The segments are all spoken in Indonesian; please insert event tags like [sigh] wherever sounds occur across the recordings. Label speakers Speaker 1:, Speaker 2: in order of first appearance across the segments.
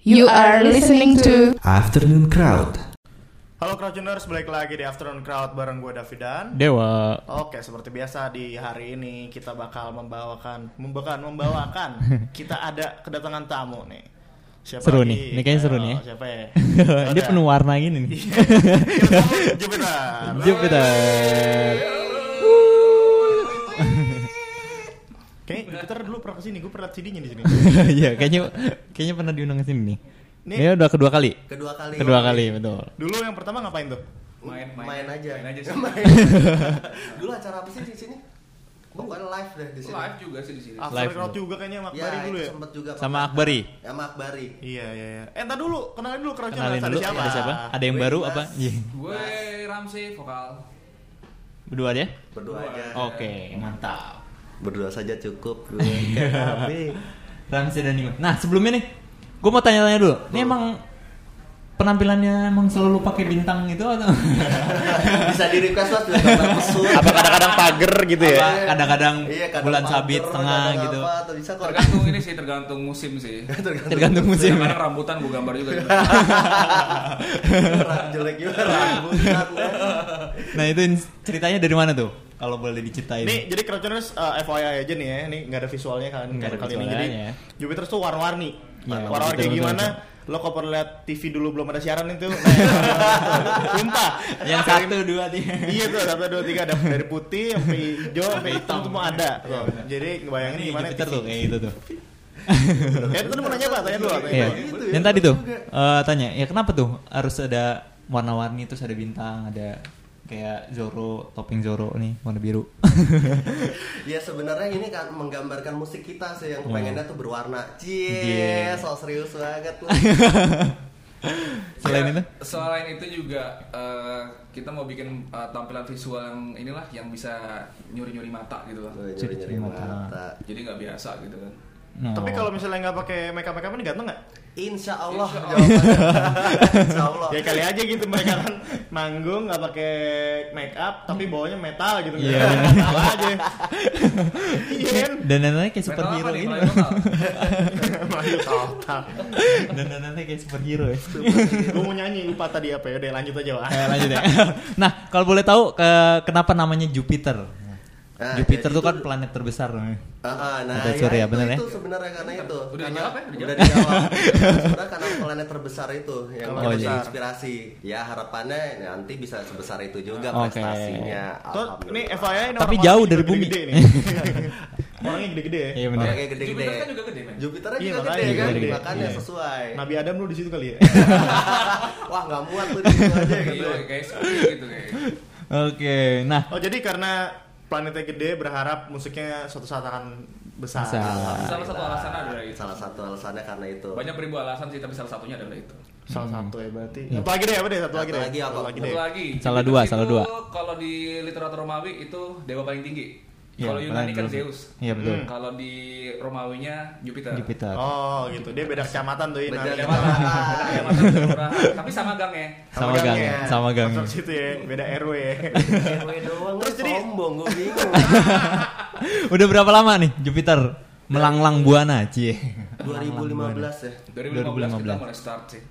Speaker 1: You are listening to
Speaker 2: Afternoon Crowd.
Speaker 3: Halo Crowdtuners, balik lagi di Afternoon Crowd bareng gue Davidan.
Speaker 4: Dewa.
Speaker 3: Oke, seperti biasa di hari ini kita bakal membawakan, membawakan,
Speaker 4: [laughs]
Speaker 3: membawakan. kita ada kedatangan tamu nih. Siapa
Speaker 4: Seru nih, ini kayaknya seru
Speaker 3: Ayo,
Speaker 4: nih ya.
Speaker 3: Siapa ya?
Speaker 4: [laughs] Dia
Speaker 3: [laughs]
Speaker 4: penuh warna [laughs] gini nih.
Speaker 3: Jupiter.
Speaker 4: Jupiter.
Speaker 3: Kayaknya Jupiter dulu pernah kesini, gue pernah CD-nya di
Speaker 4: [laughs]
Speaker 3: sini.
Speaker 4: [laughs] Iya, kayaknya kayaknya pernah diundang ke sini nih.
Speaker 3: Nih.
Speaker 4: Ini udah kedua kali.
Speaker 5: kedua kali
Speaker 4: Kedua kali, betul.
Speaker 3: Dulu yang pertama ngapain tuh?
Speaker 5: main main, aja
Speaker 6: main aja sih.
Speaker 5: Main. dulu acara apa sih di sini gua bukan live deh di sini
Speaker 6: live juga sih di sini.
Speaker 3: After
Speaker 4: Live
Speaker 3: Crowd juga kayaknya Mak
Speaker 5: ya
Speaker 3: Bari
Speaker 5: itu
Speaker 3: dulu ya.
Speaker 5: sempet juga
Speaker 4: Sama Akbari.
Speaker 5: ya sama Akbari
Speaker 3: Iya, iya, iya. Eh, entar dulu, kenalin dulu Crowdtuners
Speaker 4: Kenalin
Speaker 3: ada
Speaker 4: dulu
Speaker 3: siapa?
Speaker 4: ada
Speaker 3: [laughs]
Speaker 4: siapa? Ada yang
Speaker 5: Gue
Speaker 4: baru
Speaker 5: Dimas.
Speaker 4: apa? Iya.
Speaker 6: Gue Eh, Ramsey vokal.
Speaker 4: Berdua ya?
Speaker 5: berdua
Speaker 6: Berdua.
Speaker 5: aja
Speaker 4: Oke, mantap.
Speaker 5: berdua saja cukup gue kayak Abi.
Speaker 4: Ramsey dan Nima. Nah, sebelumnya nih gue mau tanya-tanya dulu. Ini emang penampilannya emang selalu pakai bintang itu atau [laughs]
Speaker 5: bisa di request lah tuh gambar pesut
Speaker 2: Apa kadang-kadang pagar gitu ya?
Speaker 4: Apa kadang-kadang
Speaker 5: Iya, kadang
Speaker 4: bulan
Speaker 5: pager,
Speaker 4: sabit tengah
Speaker 5: kadang
Speaker 4: gitu.
Speaker 5: apa, atau bisa kalau
Speaker 6: Tergantung
Speaker 5: [laughs]
Speaker 6: ini sih, tergantung musim sih.
Speaker 4: Tergantung musim.
Speaker 6: Kadang-kadang rambutan gue gambar juga. gitu.
Speaker 5: Orang jelek juga rambutan
Speaker 4: Nah, itu ins- ceritanya dari mana tuh? Kalau boleh diceritain.
Speaker 3: Nih, jadi Crowdtuners uh, FYI aja nih ya. Ini nggak ada visualnya kan
Speaker 4: Nggak ada
Speaker 3: kali ini.
Speaker 4: visualnya,
Speaker 3: Jadi
Speaker 4: ya.
Speaker 3: Jupiter tuh warna-warni.
Speaker 4: Iya,
Speaker 3: warna-warni kayak
Speaker 4: betul,
Speaker 3: gimana?
Speaker 4: betul,
Speaker 3: Lo kalau pernah lihat TV dulu belum ada siaran
Speaker 4: [laughs]
Speaker 3: itu. Nah, Sumpah.
Speaker 4: Yang
Speaker 3: Dari-
Speaker 4: satu, dua, tiga.
Speaker 3: Iya tuh, satu, dua, tiga ada dari putih sampai hijau sampai hitam semua ada. Tuh.
Speaker 4: Iya, benar.
Speaker 3: Jadi bayangin
Speaker 4: Ini
Speaker 3: gimana Iya,
Speaker 4: Jupiter
Speaker 3: TV.
Speaker 4: tuh kayak gitu tuh.
Speaker 3: Ya, itu mau nanya apa? Tanya dulu, tanya
Speaker 4: Iya.
Speaker 3: dulu.
Speaker 5: gitu ya,
Speaker 4: Yang tadi tuh
Speaker 3: Iya.
Speaker 5: juga.
Speaker 4: eh, tanya, ya kenapa tuh harus ada warna-warni terus ada bintang, ada kayak Zoro, topping Zoro nih warna biru. [laughs]
Speaker 5: Ya sebenarnya ini kan menggambarkan musik kita sih yang
Speaker 4: Hmm.
Speaker 5: pengennya tuh berwarna. Cie,
Speaker 4: Cie.
Speaker 5: so serius banget
Speaker 4: [laughs]
Speaker 5: lu.
Speaker 3: Iya.
Speaker 4: Selain itu?
Speaker 6: Ya, Selain itu juga eh, kita mau bikin eh, tampilan visual yang inilah yang bisa nyuri-nyuri mata gitu kan.
Speaker 5: Tuh, Nyuri-nyuri
Speaker 4: mata.
Speaker 5: mata.
Speaker 6: Jadi nggak biasa gitu kan.
Speaker 4: No.
Speaker 3: Tapi kalau misalnya nggak pakai makeup makeup ini ganteng nggak?
Speaker 5: Insya Allah.
Speaker 6: Insya
Speaker 5: jawabannya. [laughs] Insya Allah.
Speaker 4: Oh. Iya
Speaker 3: Ya kali aja gitu mereka kan manggung nggak pakai makeup tapi bawahnya metal gitu. [laughs]
Speaker 4: Iya.
Speaker 3: Metal aja. Iya kan?
Speaker 4: dan dananya kayak gitu.
Speaker 6: Metal apa
Speaker 4: superhero
Speaker 6: nih,
Speaker 4: ini.
Speaker 6: metal
Speaker 4: Bang. Iya,
Speaker 6: apa?
Speaker 3: Melayu total.
Speaker 4: [laughs] Dan dananya kayak superhero ya.
Speaker 3: Gue mau nyanyi lupa tadi apa ya. Udah lanjut aja lah.
Speaker 4: Eh, lanjut ya. [laughs] nah, kalau boleh tahu ke- kenapa namanya Jupiter?
Speaker 3: Ah,
Speaker 5: Nah,
Speaker 3: ya
Speaker 4: Jupiter
Speaker 5: jadi
Speaker 4: tuh
Speaker 5: itu-
Speaker 4: kan planet terbesar.
Speaker 5: Ah, ah, nah,
Speaker 4: Ada surya,
Speaker 5: itu,
Speaker 4: bener ya?
Speaker 5: itu sebenarnya karena itu.
Speaker 6: Udah
Speaker 5: karena,
Speaker 6: dijawab ya? Udah
Speaker 5: Udah dijawab.
Speaker 6: [laughs]
Speaker 5: sebenarnya karena planet terbesar itu yang
Speaker 3: Oh,
Speaker 5: kita
Speaker 4: iya.
Speaker 5: jadi inspirasi. Ya harapannya nanti bisa sebesar itu juga
Speaker 4: Oke.
Speaker 5: prestasinya.
Speaker 3: Tuh, ini
Speaker 5: Alhamdulillah.
Speaker 3: FYI ini
Speaker 4: Tapi
Speaker 3: orang-orang
Speaker 4: jauh
Speaker 3: juga
Speaker 4: dari bumi.
Speaker 3: gede-gede nih. Orangnya gede-gede ya.
Speaker 4: Iya benar.
Speaker 5: Orangnya gede-gede.
Speaker 6: Jupiter kan juga gede, men?
Speaker 5: Jupiternya
Speaker 3: Iya,
Speaker 5: juga
Speaker 3: makanya
Speaker 5: gede kan?
Speaker 4: gede-gede.
Speaker 5: Makanya
Speaker 4: Iya.
Speaker 5: sesuai.
Speaker 3: Nabi Adam lu di situ kali ya.
Speaker 5: Wah nggak muat tuh di situ aja gitu.
Speaker 6: Iya, kayak gitu kayak.
Speaker 4: Oke, nah
Speaker 3: Oh jadi karena planetnya gede berharap musiknya suatu saat akan besar.
Speaker 4: Besar.
Speaker 6: Salah satu alasan adalah itu.
Speaker 5: Salah satu alasannya karena itu.
Speaker 6: Banyak beribu alasan sih, tapi salah satunya adalah itu.
Speaker 3: Salah satu ya berarti. Apa lagi deh apa deh satu lagi
Speaker 5: Satu
Speaker 3: deh.
Speaker 5: lagi apa?
Speaker 3: Satu lagi deh.
Speaker 6: Satu lagi.
Speaker 4: Salah
Speaker 6: Jupiter
Speaker 4: dua,
Speaker 6: itu
Speaker 4: salah dua.
Speaker 6: Kalau di literatur Romawi itu dewa paling tinggi.
Speaker 4: Iya,
Speaker 6: Kalau Yunani
Speaker 4: paling
Speaker 6: kan
Speaker 4: tinggi.
Speaker 6: Zeus.
Speaker 4: Iya, betul.
Speaker 6: Hmm, Kalau di Romawinya Jupiter.
Speaker 4: Jupiter.
Speaker 3: Oh gitu. Dia beda kecamatan tuh ini.
Speaker 5: Beda
Speaker 3: namanya.
Speaker 5: kecamatan.
Speaker 6: Beda kecamatan, beda
Speaker 4: [laughs]
Speaker 6: kelurahan. Tapi sama gang ya.
Speaker 4: Sama gangnya, sama gangnya.
Speaker 3: Masuk situ ya, beda RW ya.
Speaker 5: RW [laughs] doang
Speaker 3: Terus
Speaker 5: Terus
Speaker 3: jadi-
Speaker 5: sombong gue [laughs] bingung.
Speaker 4: Udah berapa lama nih Jupiter melanglang buana, Cie?
Speaker 5: 2015 ya.
Speaker 6: 2015, kita
Speaker 4: 2015.
Speaker 6: mulai start sih.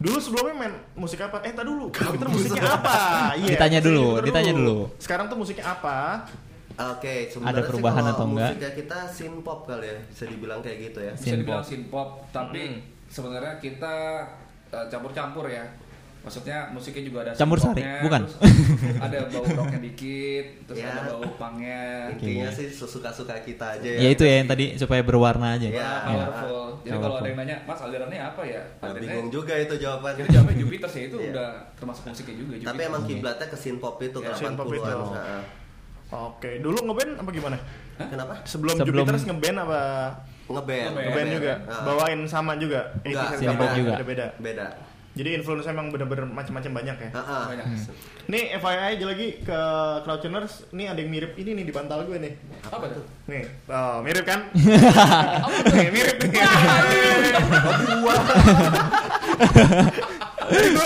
Speaker 3: Dulu sebelumnya main musik apa? Eh, tak dulu. Komputer musiknya apa? Iya.
Speaker 4: Ditanya
Speaker 3: musiknya
Speaker 4: dulu,
Speaker 3: Jupiter
Speaker 4: ditanya dulu.
Speaker 3: Sekarang tuh musiknya apa?
Speaker 5: Oke, sebenarnya
Speaker 4: Ada
Speaker 5: sih
Speaker 4: perubahan
Speaker 5: kalau
Speaker 4: atau enggak?
Speaker 5: Musiknya kita synpop kali ya, bisa dibilang kayak gitu ya.
Speaker 6: Bisa
Speaker 4: Synth
Speaker 6: dibilang
Speaker 4: pop.
Speaker 6: synpop, tapi sebenarnya kita eh, campur-campur ya. Maksudnya musiknya juga ada
Speaker 4: Campur
Speaker 6: synth-popnya,
Speaker 4: sari, bukan?
Speaker 6: terus Ada bau rocknya dikit, terus
Speaker 5: Ya.
Speaker 6: ada bau pangnya.
Speaker 5: Intinya sih sesuka-suka kita aja
Speaker 4: Ya itu ya yang tadi supaya berwarna aja. Iya.
Speaker 5: Ya.
Speaker 6: Powerful. Jadi kalau
Speaker 4: Powerful.
Speaker 6: ada yang nanya, Mas alirannya apa ya?
Speaker 5: Nah,
Speaker 6: Alirannya
Speaker 5: bingung juga itu jawabannya.
Speaker 6: Jadi jamnya Jupiter sih itu
Speaker 5: Iya.
Speaker 6: udah termasuk musiknya Ya, juga Jupiter.
Speaker 5: Tapi emang kiblatnya ke synpop itu
Speaker 3: Ya,
Speaker 5: ke
Speaker 3: synth-pop
Speaker 5: 80-an.
Speaker 3: itu.
Speaker 5: Nah,
Speaker 3: Oke, dulu ngeband apa gimana?
Speaker 5: Kenapa?
Speaker 3: Sebelum,
Speaker 4: Sebelum-
Speaker 3: Jupiter ngeband apa
Speaker 5: Ngeband.
Speaker 6: Ngeband.
Speaker 3: ngeband juga?
Speaker 5: Nah,
Speaker 3: Bawain sama juga. Eh,
Speaker 5: Enggak,
Speaker 3: kita
Speaker 4: synth-pop juga.
Speaker 3: Beda-beda.
Speaker 5: Beda.
Speaker 3: Jadi influence emang bener-bener macam-macam banyak ya.
Speaker 5: Ah, ah.
Speaker 6: banyak.
Speaker 3: Nih FYI aja lagi ke Crowdtuners, nih ada yang mirip ini nih di bantal gue nih.
Speaker 6: Apa tuh?
Speaker 3: Nih, oh, mirip
Speaker 4: [laughs]
Speaker 3: kan? nih, mirip nih. [laughs] Jadi gue-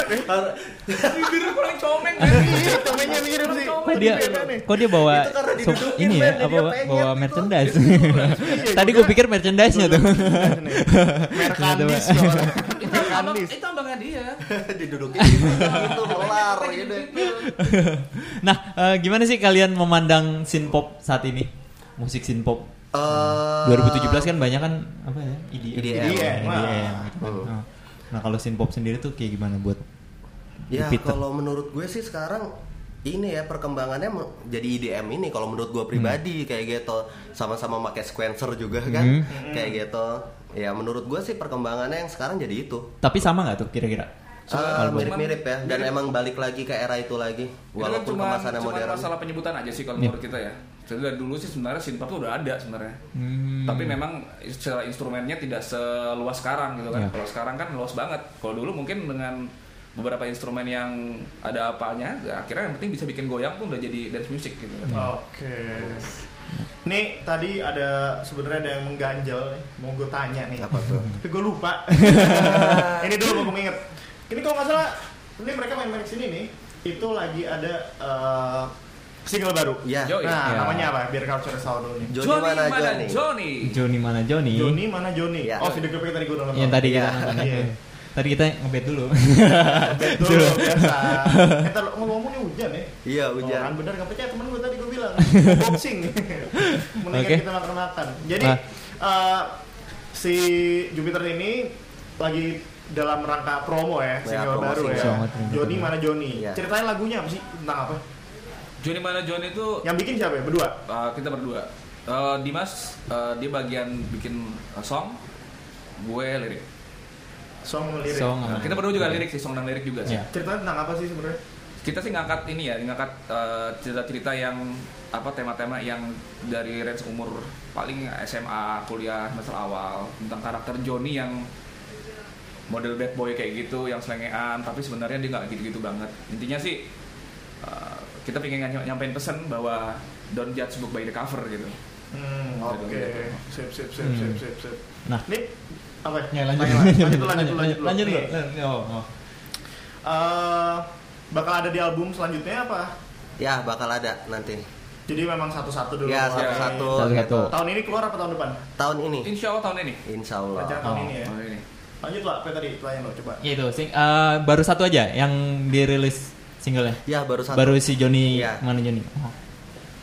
Speaker 4: [laughs]
Speaker 5: Har-
Speaker 3: eh,
Speaker 6: Bibir kurang comeng
Speaker 3: Iya, temennya mirip sih.
Speaker 4: kok dia kok dia bawa
Speaker 5: Itu karena
Speaker 4: so-
Speaker 5: didudukin,
Speaker 4: ini ya
Speaker 5: men,
Speaker 4: apa
Speaker 5: jadi dia pengen
Speaker 4: bawa
Speaker 5: gitu.
Speaker 4: merchandise. Tadi gue pikir merchandise-nya tuh. [laughs]
Speaker 3: Merkandis
Speaker 6: itu abang,
Speaker 3: Merkandis
Speaker 6: itu abangnya dia.
Speaker 5: [laughs] didudukin gitu melar
Speaker 6: Apa
Speaker 5: gitu.
Speaker 6: yang dibilang?
Speaker 4: Nah, eh, gimana sih kalian memandang synpop saat ini? Musik synpop
Speaker 5: Eh,
Speaker 4: 2017 kan banyak kan apa ya? IDM.
Speaker 5: IDM.
Speaker 4: IDM.
Speaker 5: Hmm.
Speaker 4: Nah, Nah, kalau synpop sendiri tuh kayak gimana buat
Speaker 5: Ya
Speaker 4: Peter?
Speaker 5: kalau menurut gue sih sekarang ini ya perkembangannya me- jadi IDM ini kalau menurut gue
Speaker 4: Hmm.
Speaker 5: pribadi kayak gitu sama-sama pakai sequencer juga kan
Speaker 4: Hmm.
Speaker 5: kayak gitu ya menurut gue sih perkembangannya yang sekarang jadi itu
Speaker 4: Tapi sama nggak tuh kira-kira?
Speaker 5: Ah, mirip-mirip ya dan emang balik lagi ke era itu lagi
Speaker 6: Itu kan
Speaker 5: walaupun
Speaker 6: cuma-
Speaker 5: kemasannya
Speaker 6: cuma
Speaker 5: modern
Speaker 6: masalah penyebutan aja sih kalau menurut kita ya. Jadi dari dulu sih sebenarnya synthpop tuh udah ada sebenarnya.
Speaker 4: Hmm.
Speaker 6: Tapi memang secara instrumennya tidak seluas sekarang gitu kan.
Speaker 4: Iya.
Speaker 6: Kalau sekarang kan luas banget. Kalau dulu mungkin dengan beberapa instrumen yang ada apanya, ya akhirnya yang penting bisa bikin goyang tuh udah jadi dance music gitu.
Speaker 3: Iya. Oke. Nih tadi ada sebenarnya ada yang mengganjal nih. Mau gue tanya nih.
Speaker 5: Apa tuh?
Speaker 3: Tapi gue
Speaker 6: [laughs]
Speaker 3: lupa. ini dulu gue inget. Ini kalau nggak salah, ini mereka main-main kesini nih. Itu lagi ada eh, single baru.
Speaker 4: Iya.
Speaker 5: ya
Speaker 6: Yo,
Speaker 3: Nah,
Speaker 6: Ya.
Speaker 3: namanya apa? Biar culture sound dulu nih.
Speaker 5: Joni mana Joni
Speaker 6: Joni?
Speaker 4: Joni mana Joni? Iya.
Speaker 3: Joni mana Joni?
Speaker 5: Ya.
Speaker 3: Oh, video klipnya tadi gue udah nonton.
Speaker 4: Yang tadi kita
Speaker 5: Iya.
Speaker 4: nonton ya.
Speaker 3: Iya.
Speaker 4: Tadi kita ngebet dulu.
Speaker 3: Betul,
Speaker 4: [laughs]
Speaker 3: biasa. Eh, tar, ngomong-ngomong nih hujan ya.
Speaker 5: iya
Speaker 3: Orang
Speaker 5: hujan
Speaker 3: bener gak percaya temen gue tadi gue bilang boxing [laughs] mendingan
Speaker 4: Oke.
Speaker 3: kita makan makan jadi
Speaker 4: Nah.
Speaker 3: eh, si Jupiter ini lagi dalam rangka promo ya
Speaker 5: Ya,
Speaker 3: single
Speaker 5: promo
Speaker 3: baru ya
Speaker 5: single.
Speaker 4: Promo single.
Speaker 3: Joni mana Joni
Speaker 5: Iya.
Speaker 3: ceritain lagunya apa sih tentang apa
Speaker 6: Joni mana Joni itu
Speaker 3: yang bikin siapa ya berdua
Speaker 6: Uh, kita berdua. Uh, Dimas uh, dia bagian bikin uh, song, gue lirik.
Speaker 3: song sama lirik
Speaker 4: Song.
Speaker 6: Nah, kita berdua juga lirik sih, song dan lirik juga sih.
Speaker 4: Iya.
Speaker 3: ceritanya tentang apa sih sebenarnya
Speaker 6: Kita sih ngangkat ini ya, ngangkat uh, cerita-cerita yang apa tema-tema yang dari range umur paling SMA, kuliah, semester awal tentang karakter Joni yang model bad boy kayak gitu, yang selengean, tapi sebenarnya dia nggak gitu-gitu banget. Intinya sih uh, kita pengen nyampe- nyampein pesan bahwa don't judge book by the cover gitu.
Speaker 3: hmm, oke sip sip sip
Speaker 4: Hmm.
Speaker 3: sip sip sip
Speaker 4: Nah.
Speaker 3: ini apa ya?
Speaker 4: Ya, [laughs] lanjut.
Speaker 3: Tanya, lanjut lanjut lanjut lanjut, dulu.
Speaker 4: Lanjut dulu.
Speaker 3: Nih,
Speaker 4: Oh, oh.
Speaker 3: eh, bakal ada di album selanjutnya apa
Speaker 5: ya bakal ada nanti
Speaker 3: jadi memang satu-satu dulu
Speaker 5: ya
Speaker 3: Oke.
Speaker 5: satu-satu
Speaker 4: Satu-satu.
Speaker 5: gitu.
Speaker 3: Tahun ini keluar apa tahun depan?
Speaker 5: tahun ini
Speaker 6: Insya Allah tahun ini.
Speaker 5: Insya
Speaker 3: Rencana
Speaker 5: Allah
Speaker 3: tahun
Speaker 4: Oh.
Speaker 3: ini ya.
Speaker 6: Tahun ini.
Speaker 3: Lanjut lah, apa tadi pertanyaan lo coba.
Speaker 4: Ya itu, sing, eh, baru satu aja yang dirilis singlenya.
Speaker 5: ya baru satu
Speaker 4: Baru si Joni
Speaker 5: Iya.
Speaker 4: mana Joni? Oh.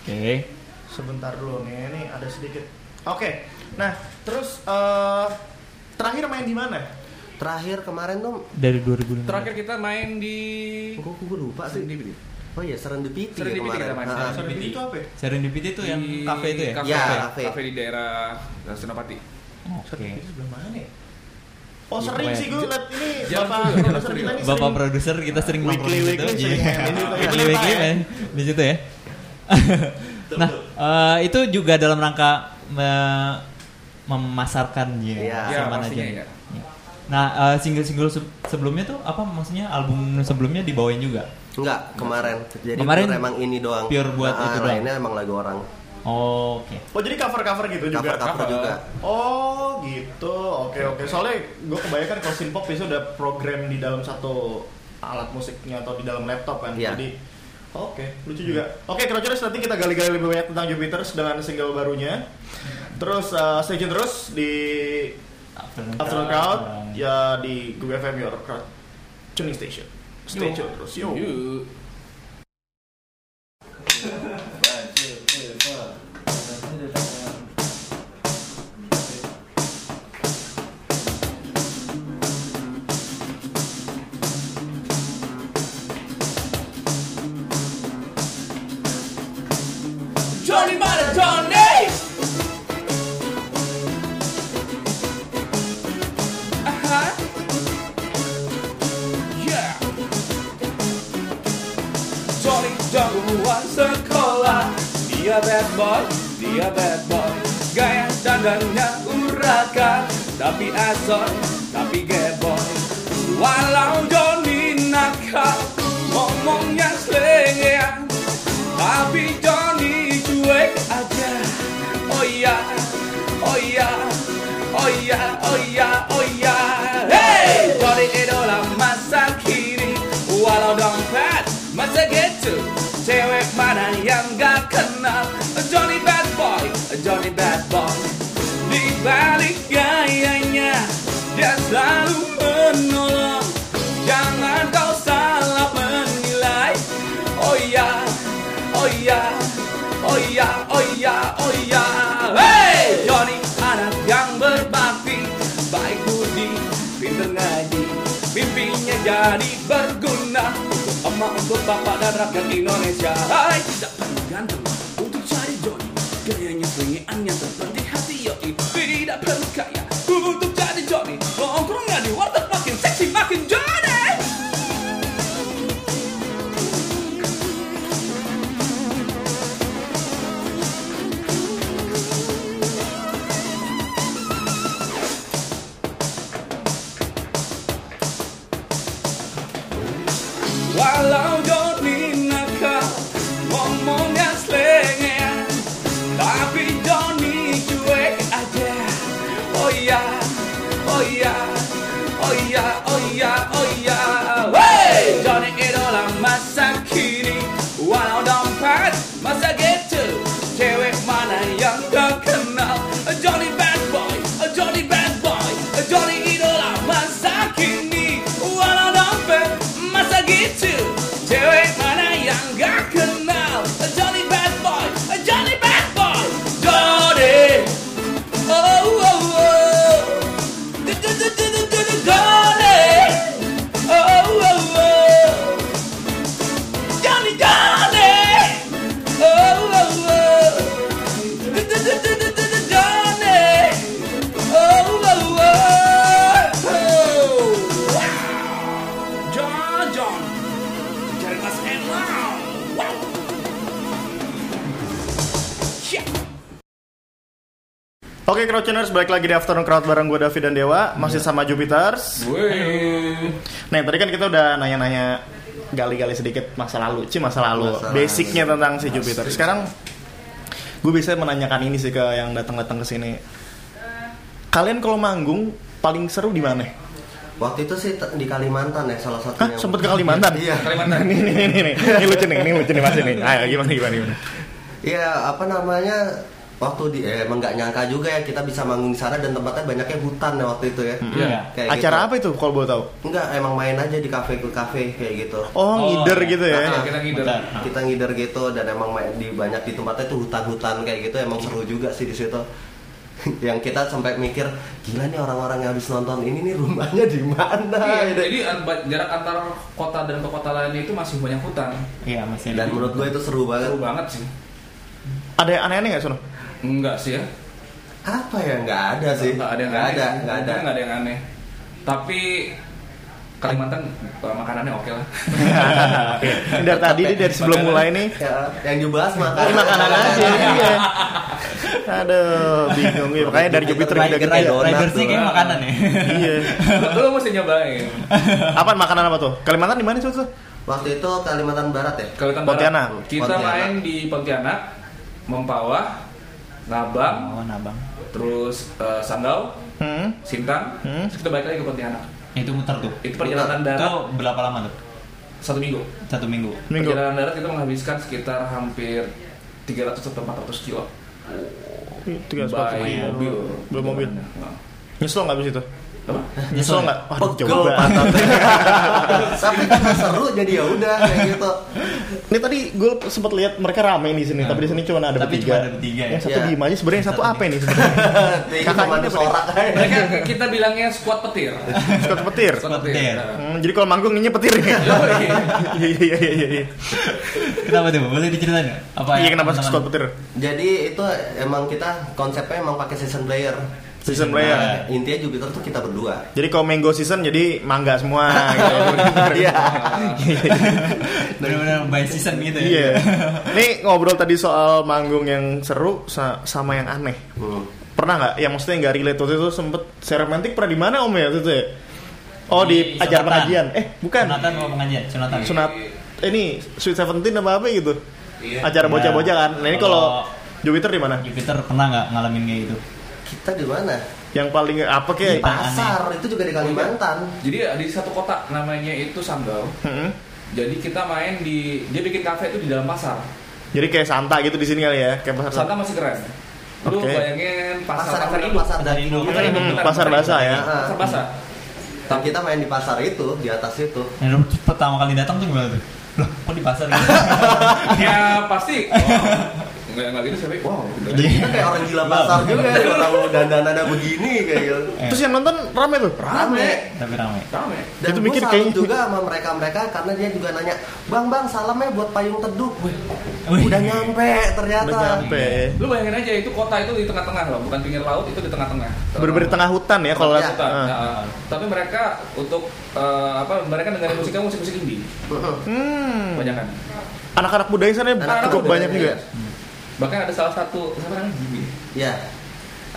Speaker 4: Oke.
Speaker 3: Sebentar dulu nih, ini ada sedikit. Oke. Nah, terus eh, terakhir main di mana?
Speaker 5: terakhir kemarin tuh
Speaker 4: Dari 2005.
Speaker 6: Terakhir kita main di
Speaker 5: Kok gue lupa sih.
Speaker 6: Serendipity.
Speaker 5: Oh iya Serendipity ya
Speaker 6: Serendipity
Speaker 5: kemarin.
Speaker 6: kita main.
Speaker 5: Ah, ah.
Speaker 6: Serendipity.
Speaker 3: Itu apa? ya?
Speaker 4: Serendipity itu yang
Speaker 6: Di
Speaker 4: kafe itu ya?
Speaker 6: Kafe,
Speaker 5: Ya,
Speaker 6: kafe.
Speaker 5: kafe.
Speaker 6: Kafe di daerah Senopati.
Speaker 4: Oke.
Speaker 3: Itu sebelah mana? ya? Oh
Speaker 4: Iya,
Speaker 3: sering
Speaker 4: pokoknya.
Speaker 3: sih gue liat ini
Speaker 6: Jalan
Speaker 3: bapak
Speaker 6: Suryo, Jalan
Speaker 3: produser kita
Speaker 6: Suryo.
Speaker 3: ini
Speaker 4: Bapak
Speaker 3: sering-
Speaker 4: produser kita sering
Speaker 3: Weekly,
Speaker 4: nongkrong di situ.
Speaker 3: weekly
Speaker 4: Iya.
Speaker 3: sering main di situ.
Speaker 4: Weekly
Speaker 3: Weekly,
Speaker 4: weekly
Speaker 3: Pak,
Speaker 4: main di situ ya. [laughs] nah, eh, itu juga dalam rangka me- memasarkan ya,
Speaker 5: Iya.
Speaker 6: Iya,
Speaker 4: sama
Speaker 6: pastinya
Speaker 4: aja.
Speaker 6: ya.
Speaker 4: Nah, eh, single-single se- sebelumnya tuh apa maksudnya album sebelumnya dibawain juga?
Speaker 5: Enggak, kemarin. Jadi
Speaker 4: Kemarin
Speaker 5: kemarin emang ini doang.
Speaker 4: pure buat itu doang.
Speaker 5: Lainnya emang lagu orang.
Speaker 4: Oh, Oke.
Speaker 3: Oh jadi cover-cover gitu juga.
Speaker 5: Cover-cover
Speaker 6: cover.
Speaker 5: juga.
Speaker 3: Oh gitu, oke oke. Soalnya gue kebayangkan kalau synpop itu udah program di dalam satu alat musiknya atau di dalam laptop kan.
Speaker 5: Iya.
Speaker 3: Jadi oke, lucu juga. Oke, Crouchers nanti kita gali-gali lebih banyak tentang Jupiter dengan single barunya. Terus eh, stay tune terus di Afternoon Crowd ya di Google FM Your Crowd Tuning Station. Stay
Speaker 6: Yo.
Speaker 3: tune terus. Yo.
Speaker 6: Yuk. Johnny mana Johnny? Aha. Uh-huh. Yeah. Johnny jagoan sekolah Dia bad boy, dia bad boy Gaya dandannya urakan Tapi asoy, tapi geboy Walau Johnny nakal Ngomongnya selengean Tapi Johnny cuek aja Oh iya, oh iya Oh iya, oh iya, oh iya Hey! Johnny idola masa kini Walau dompet masih gitu Cewek mana
Speaker 7: Oh iya, oh iya, jadi berguna Emak untuk bapak dan rakyat Indonesia Hai tidak perlu ganteng untuk cari jodoh Gayanya selingiannya seperti hati yoi Tidak perlu kaya untuk jadi Johnny Nongkrongnya di warteg makin seksi makin Johnny Walau Doni nakal, ngomongnya selengean Tapi Doni cuek aja Oh iya, oh iya, oh iya, oh iya, oh iya Wey! Doni idola masa kini Walau dompet masa gitu Cewek mana yang terkenal Johnny bad boy, Johnny bad boy Johnny idola masa kini Walau dompet masa gitu Cewek mana yang gak kenal Johnny bad boy, Johnny bad boy Johnny Oh, oh, oh Johnny Oh, oh, oh Johnny, Johnny Oh, oh, oh Johnny Oh, oh, oh John, John Cari Mas Elang Wow Shit
Speaker 3: Oke, Crowdtuners, balik lagi di Afternoon Crowd bareng gue David dan Dewa, masih sama Jupiters. Nah, tadi kan kita udah nanya-nanya gali-gali sedikit masa lalu, Ci masa lalu,
Speaker 5: Masa lalu.
Speaker 3: basicnya tentang si Jupiter. Sekarang gue bisa menanyakan ini sih ke yang datang-datang ke sini. Kalian kalau manggung paling seru di mana? [laughs]
Speaker 5: Waktu itu sih te- di Kalimantan ya salah
Speaker 3: Hah,
Speaker 5: satunya.
Speaker 3: sempet ke Kalimantan?
Speaker 5: Iya.
Speaker 6: Kalimantan.
Speaker 3: Ini, ini, ini, ini, ini lucu nih, ini lucu nih masih nih. Ayo, gimana, gimana, gimana?
Speaker 5: Iya, apa namanya? Waktu di eh, emang nggak nyangka juga ya kita bisa manggung di sana dan tempatnya banyaknya hutan ya waktu itu ya.
Speaker 4: Iya.
Speaker 5: Kayak
Speaker 3: Acara
Speaker 5: gitu.
Speaker 3: apa itu kalau boleh tahu?
Speaker 5: Enggak, emang main aja di kafe ke kafe kayak gitu.
Speaker 3: Oh, ngider
Speaker 4: iya.
Speaker 3: gitu ya.
Speaker 6: Ah, kita ngider.
Speaker 4: Bentar.
Speaker 5: Kita ngider gitu dan emang main di banyak di tempatnya tuh hutan-hutan kayak gitu emang seru juga sih di situ. [laughs] yang kita sampai mikir gila nih orang-orang yang habis nonton ini nih rumahnya di mana
Speaker 6: Iya,
Speaker 5: gitu.
Speaker 6: jadi an- ba- jarak antar kota dan ke kota lainnya itu masih banyak hutan.
Speaker 4: Iya masih
Speaker 5: dan menurut gue itu seru banget
Speaker 6: Seru banget sih.
Speaker 3: Ada yang aneh-aneh nggak sono?
Speaker 6: Enggak sih ya.
Speaker 5: apa ya nggak ada sih
Speaker 6: Enggak ada yang
Speaker 5: nggak
Speaker 6: aneh.
Speaker 5: ada nggak ada
Speaker 6: Enggak ada yang aneh. Tapi Kalimantan eh, makanannya oke lah.
Speaker 3: Ini dari tadi, ini dari sebelum mulai nih.
Speaker 5: Ya, yang dibahas
Speaker 3: Ini
Speaker 5: makanan
Speaker 3: makanan aja. iya. Aduh, bingung ya. Makanya dari Jupiter kita
Speaker 5: Rider,
Speaker 3: gede.
Speaker 5: rider. donat
Speaker 4: Ridersnya kayak
Speaker 5: doang.
Speaker 4: makanan ya. [laughs]
Speaker 3: Iya.
Speaker 6: Lu mesti nyobain.
Speaker 3: Apaan makanan apa tuh? Kalimantan di mana sih tuh?
Speaker 5: waktu itu Kalimantan Barat ya
Speaker 6: Kalimantan
Speaker 3: Pontianak.
Speaker 6: Barat. Kita
Speaker 5: Pontianak.
Speaker 6: main di Pontianak, Mempawah, Nabang,
Speaker 4: Oh, nabang.
Speaker 6: terus eh, Sanggau,
Speaker 3: Hmm.
Speaker 6: Sintang.
Speaker 3: Hmm.
Speaker 6: Terus kita balik lagi ke Pontianak.
Speaker 4: Itu muter tuh.
Speaker 6: Itu perjalanan
Speaker 4: Itu
Speaker 6: darat
Speaker 4: berapa lama tuh?
Speaker 6: satu minggu.
Speaker 4: Satu minggu.
Speaker 3: Minggu.
Speaker 6: Perjalanan darat kita menghabiskan sekitar hampir 300 atau 400 kilo.
Speaker 3: Tiga sepatu.
Speaker 6: by mobil.
Speaker 3: Belum ya, mobil.
Speaker 6: Nah.
Speaker 3: Nyesel nggak abis itu?
Speaker 6: Apa?
Speaker 3: Nyesel
Speaker 4: ya?
Speaker 3: nggak? Waduh,
Speaker 5: Pegel
Speaker 3: coba.
Speaker 5: pantatnya. [laughs] tapi karena seru jadi ya udah kayak gitu
Speaker 3: [laughs] Ini tadi gue sempat lihat mereka rame di sini, tapi di sini cuma ada
Speaker 4: Tapi
Speaker 3: bertiga.
Speaker 4: cuma ada bertiga ya?
Speaker 3: Yang satu
Speaker 5: Iya.
Speaker 3: diem aja, sebenarnya yang satu apa ini
Speaker 5: [laughs]
Speaker 3: sebenarnya?
Speaker 5: kakak
Speaker 3: Kakaknya
Speaker 5: ini sorak aja.
Speaker 6: Mereka kita bilangnya squad petir.
Speaker 3: Suka petir.
Speaker 6: Squad
Speaker 4: Petir.
Speaker 3: Hmm, jadi kalau manggung ini petir ya.
Speaker 6: Yoi.
Speaker 3: [laughs] Iya iya iya iya. iya.
Speaker 4: Kenapa tuh? Boleh diceritain nggak? Apa
Speaker 3: Iya
Speaker 4: yang
Speaker 3: kenapa
Speaker 4: teman-teman-
Speaker 3: Scott petir?
Speaker 5: jadi itu emang kita konsepnya emang pakai season player
Speaker 3: Season player.
Speaker 5: Nah, intinya Jupiter tuh kita berdua
Speaker 3: Jadi kalau mango season jadi mangga semua gitu. Iya.
Speaker 4: [laughs] Benar-benar by season gitu ya.
Speaker 3: Iya. Nih ngobrol tadi soal manggung yang seru sa- sama yang aneh.
Speaker 5: Hmm.
Speaker 3: Pernah nggak? Ya maksudnya nggak relate waktu itu sempet seremantik pernah di mana om ya waktu itu ya? Oh di,
Speaker 4: Di
Speaker 3: acara
Speaker 4: sunatan.
Speaker 3: pengajian. Eh bukan.
Speaker 4: Sunatan mau pengajian, sunatan.
Speaker 3: Sunat. Ini Sweet Seventeen apa apa gitu.
Speaker 6: Iya.
Speaker 3: Acara
Speaker 4: Iya.
Speaker 3: bocah-bocah kan. Nah ini kalau Jupiter di mana?
Speaker 4: Jupiter pernah nggak ngalamin kayak gitu?
Speaker 5: kita di mana
Speaker 3: Yang paling apa kayak?
Speaker 5: di pasar itu juga di Kalimantan
Speaker 6: Jadi ada di satu kota namanya itu Sanggau.
Speaker 3: Heeh.
Speaker 6: Jadi kita main di dia bikin kafe itu di dalam pasar.
Speaker 3: Jadi kayak Santa gitu di sini kali ya, kayak pasar Santa.
Speaker 6: Santa masih keren. Lu
Speaker 3: Oke.
Speaker 6: bayangin pasar
Speaker 5: pasar
Speaker 6: pasar
Speaker 5: yang
Speaker 6: induk.
Speaker 5: pasar daging
Speaker 4: Pasar
Speaker 5: gitu.
Speaker 4: induk.
Speaker 3: Hmm, pasar basah ya.
Speaker 6: Pasar basah.
Speaker 5: Dan kita main di pasar itu di atas itu
Speaker 4: Nah, lu pertama kali datang tuh gimana tuh? Loh, kok di pasar
Speaker 3: [laughs]
Speaker 4: gitu?
Speaker 6: Ya pasti. Wow. Enggak enggak gitu siapa? Wow.
Speaker 5: Jadi kita kayak orang gila pasar juga ya, orang dandan ada begini kayak gitu.
Speaker 4: Eh.
Speaker 3: Terus yang nonton Rame tuh.
Speaker 5: rame
Speaker 4: Tapi rame.
Speaker 6: Rame.
Speaker 5: dan
Speaker 3: Itu
Speaker 5: gue
Speaker 3: mikir
Speaker 5: salut
Speaker 3: kayaknya.
Speaker 5: juga sama mereka mereka karena dia juga nanya bang bang salamnya buat payung teduh Wih, udah nyampe ternyata
Speaker 3: Udah
Speaker 5: [laughs]
Speaker 3: nyampe.
Speaker 6: Lu bayangin aja itu kota itu di tengah-tengah loh, bukan pinggir laut itu di tengah-tengah.
Speaker 3: Bener-bener tengah hutan ya kalau
Speaker 5: Iya.
Speaker 3: lihat.
Speaker 6: Hutan.
Speaker 3: Ah.
Speaker 6: Nah, tapi mereka untuk eh, apa mereka dengerin musiknya musik-musik indie
Speaker 3: Hmm.
Speaker 6: kebanyakan.
Speaker 3: Anak-anak muda di sana
Speaker 5: Anak-anak
Speaker 3: cukup
Speaker 5: muda,
Speaker 3: banyak
Speaker 5: iya.
Speaker 3: juga.
Speaker 6: Bahkan ada salah satu siapa namanya Jimmy.
Speaker 5: ya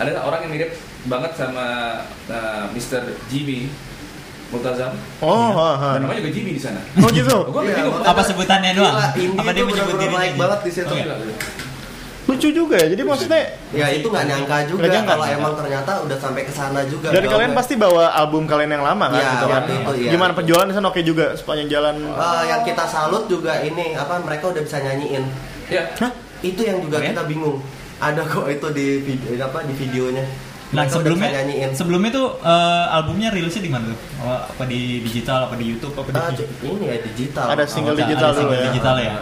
Speaker 6: Ada orang yang mirip banget sama eh, Mr. Jimmy Multazam.
Speaker 3: Oh, ah, ah.
Speaker 6: Dan namanya juga Jimmy di sana.
Speaker 3: oh gitu.
Speaker 6: Gue
Speaker 5: Iya,
Speaker 6: bingung.
Speaker 4: Apa sebutannya doang? Apa
Speaker 5: apa
Speaker 4: dia
Speaker 5: dia
Speaker 4: menyebut
Speaker 5: bener-bener
Speaker 4: dirinya
Speaker 5: naik
Speaker 4: gitu?
Speaker 5: banget di situ
Speaker 4: Oh, iya.
Speaker 6: Gila, gila.
Speaker 3: Lucu juga ya. Jadi maksudnya
Speaker 5: ya itu nggak nyangka juga
Speaker 3: Nggak nyangka,
Speaker 5: kalau
Speaker 3: nggak
Speaker 5: emang ternyata udah sampai ke sana juga
Speaker 3: dari
Speaker 5: jauhnya.
Speaker 3: kalian pasti bawa album kalian yang lama kan
Speaker 5: Iya,
Speaker 3: gitu kan.
Speaker 5: waktu itu, iya.
Speaker 3: Gimana penjualan di sana oke juga sepanjang jalan.
Speaker 5: Eh, yang kita salut juga ini apa mereka udah bisa nyanyiin
Speaker 6: Ya.
Speaker 5: itu yang juga
Speaker 6: Keren.
Speaker 5: kita bingung ada kok itu di video apa di videonya
Speaker 4: Nah
Speaker 5: Mereka udah
Speaker 4: sebelumnya,
Speaker 5: bisa nyanyiin
Speaker 4: sebelumnya tuh eh, albumnya rilisnya di mana tuh? Oh, apa di digital, apa di YouTube, apa di?
Speaker 5: Ah, cu- ini ya digital
Speaker 3: Ada
Speaker 4: Oh,
Speaker 3: single
Speaker 4: ada-
Speaker 3: digital
Speaker 4: ada
Speaker 3: dulu
Speaker 4: single
Speaker 3: ya.
Speaker 4: Digital ya.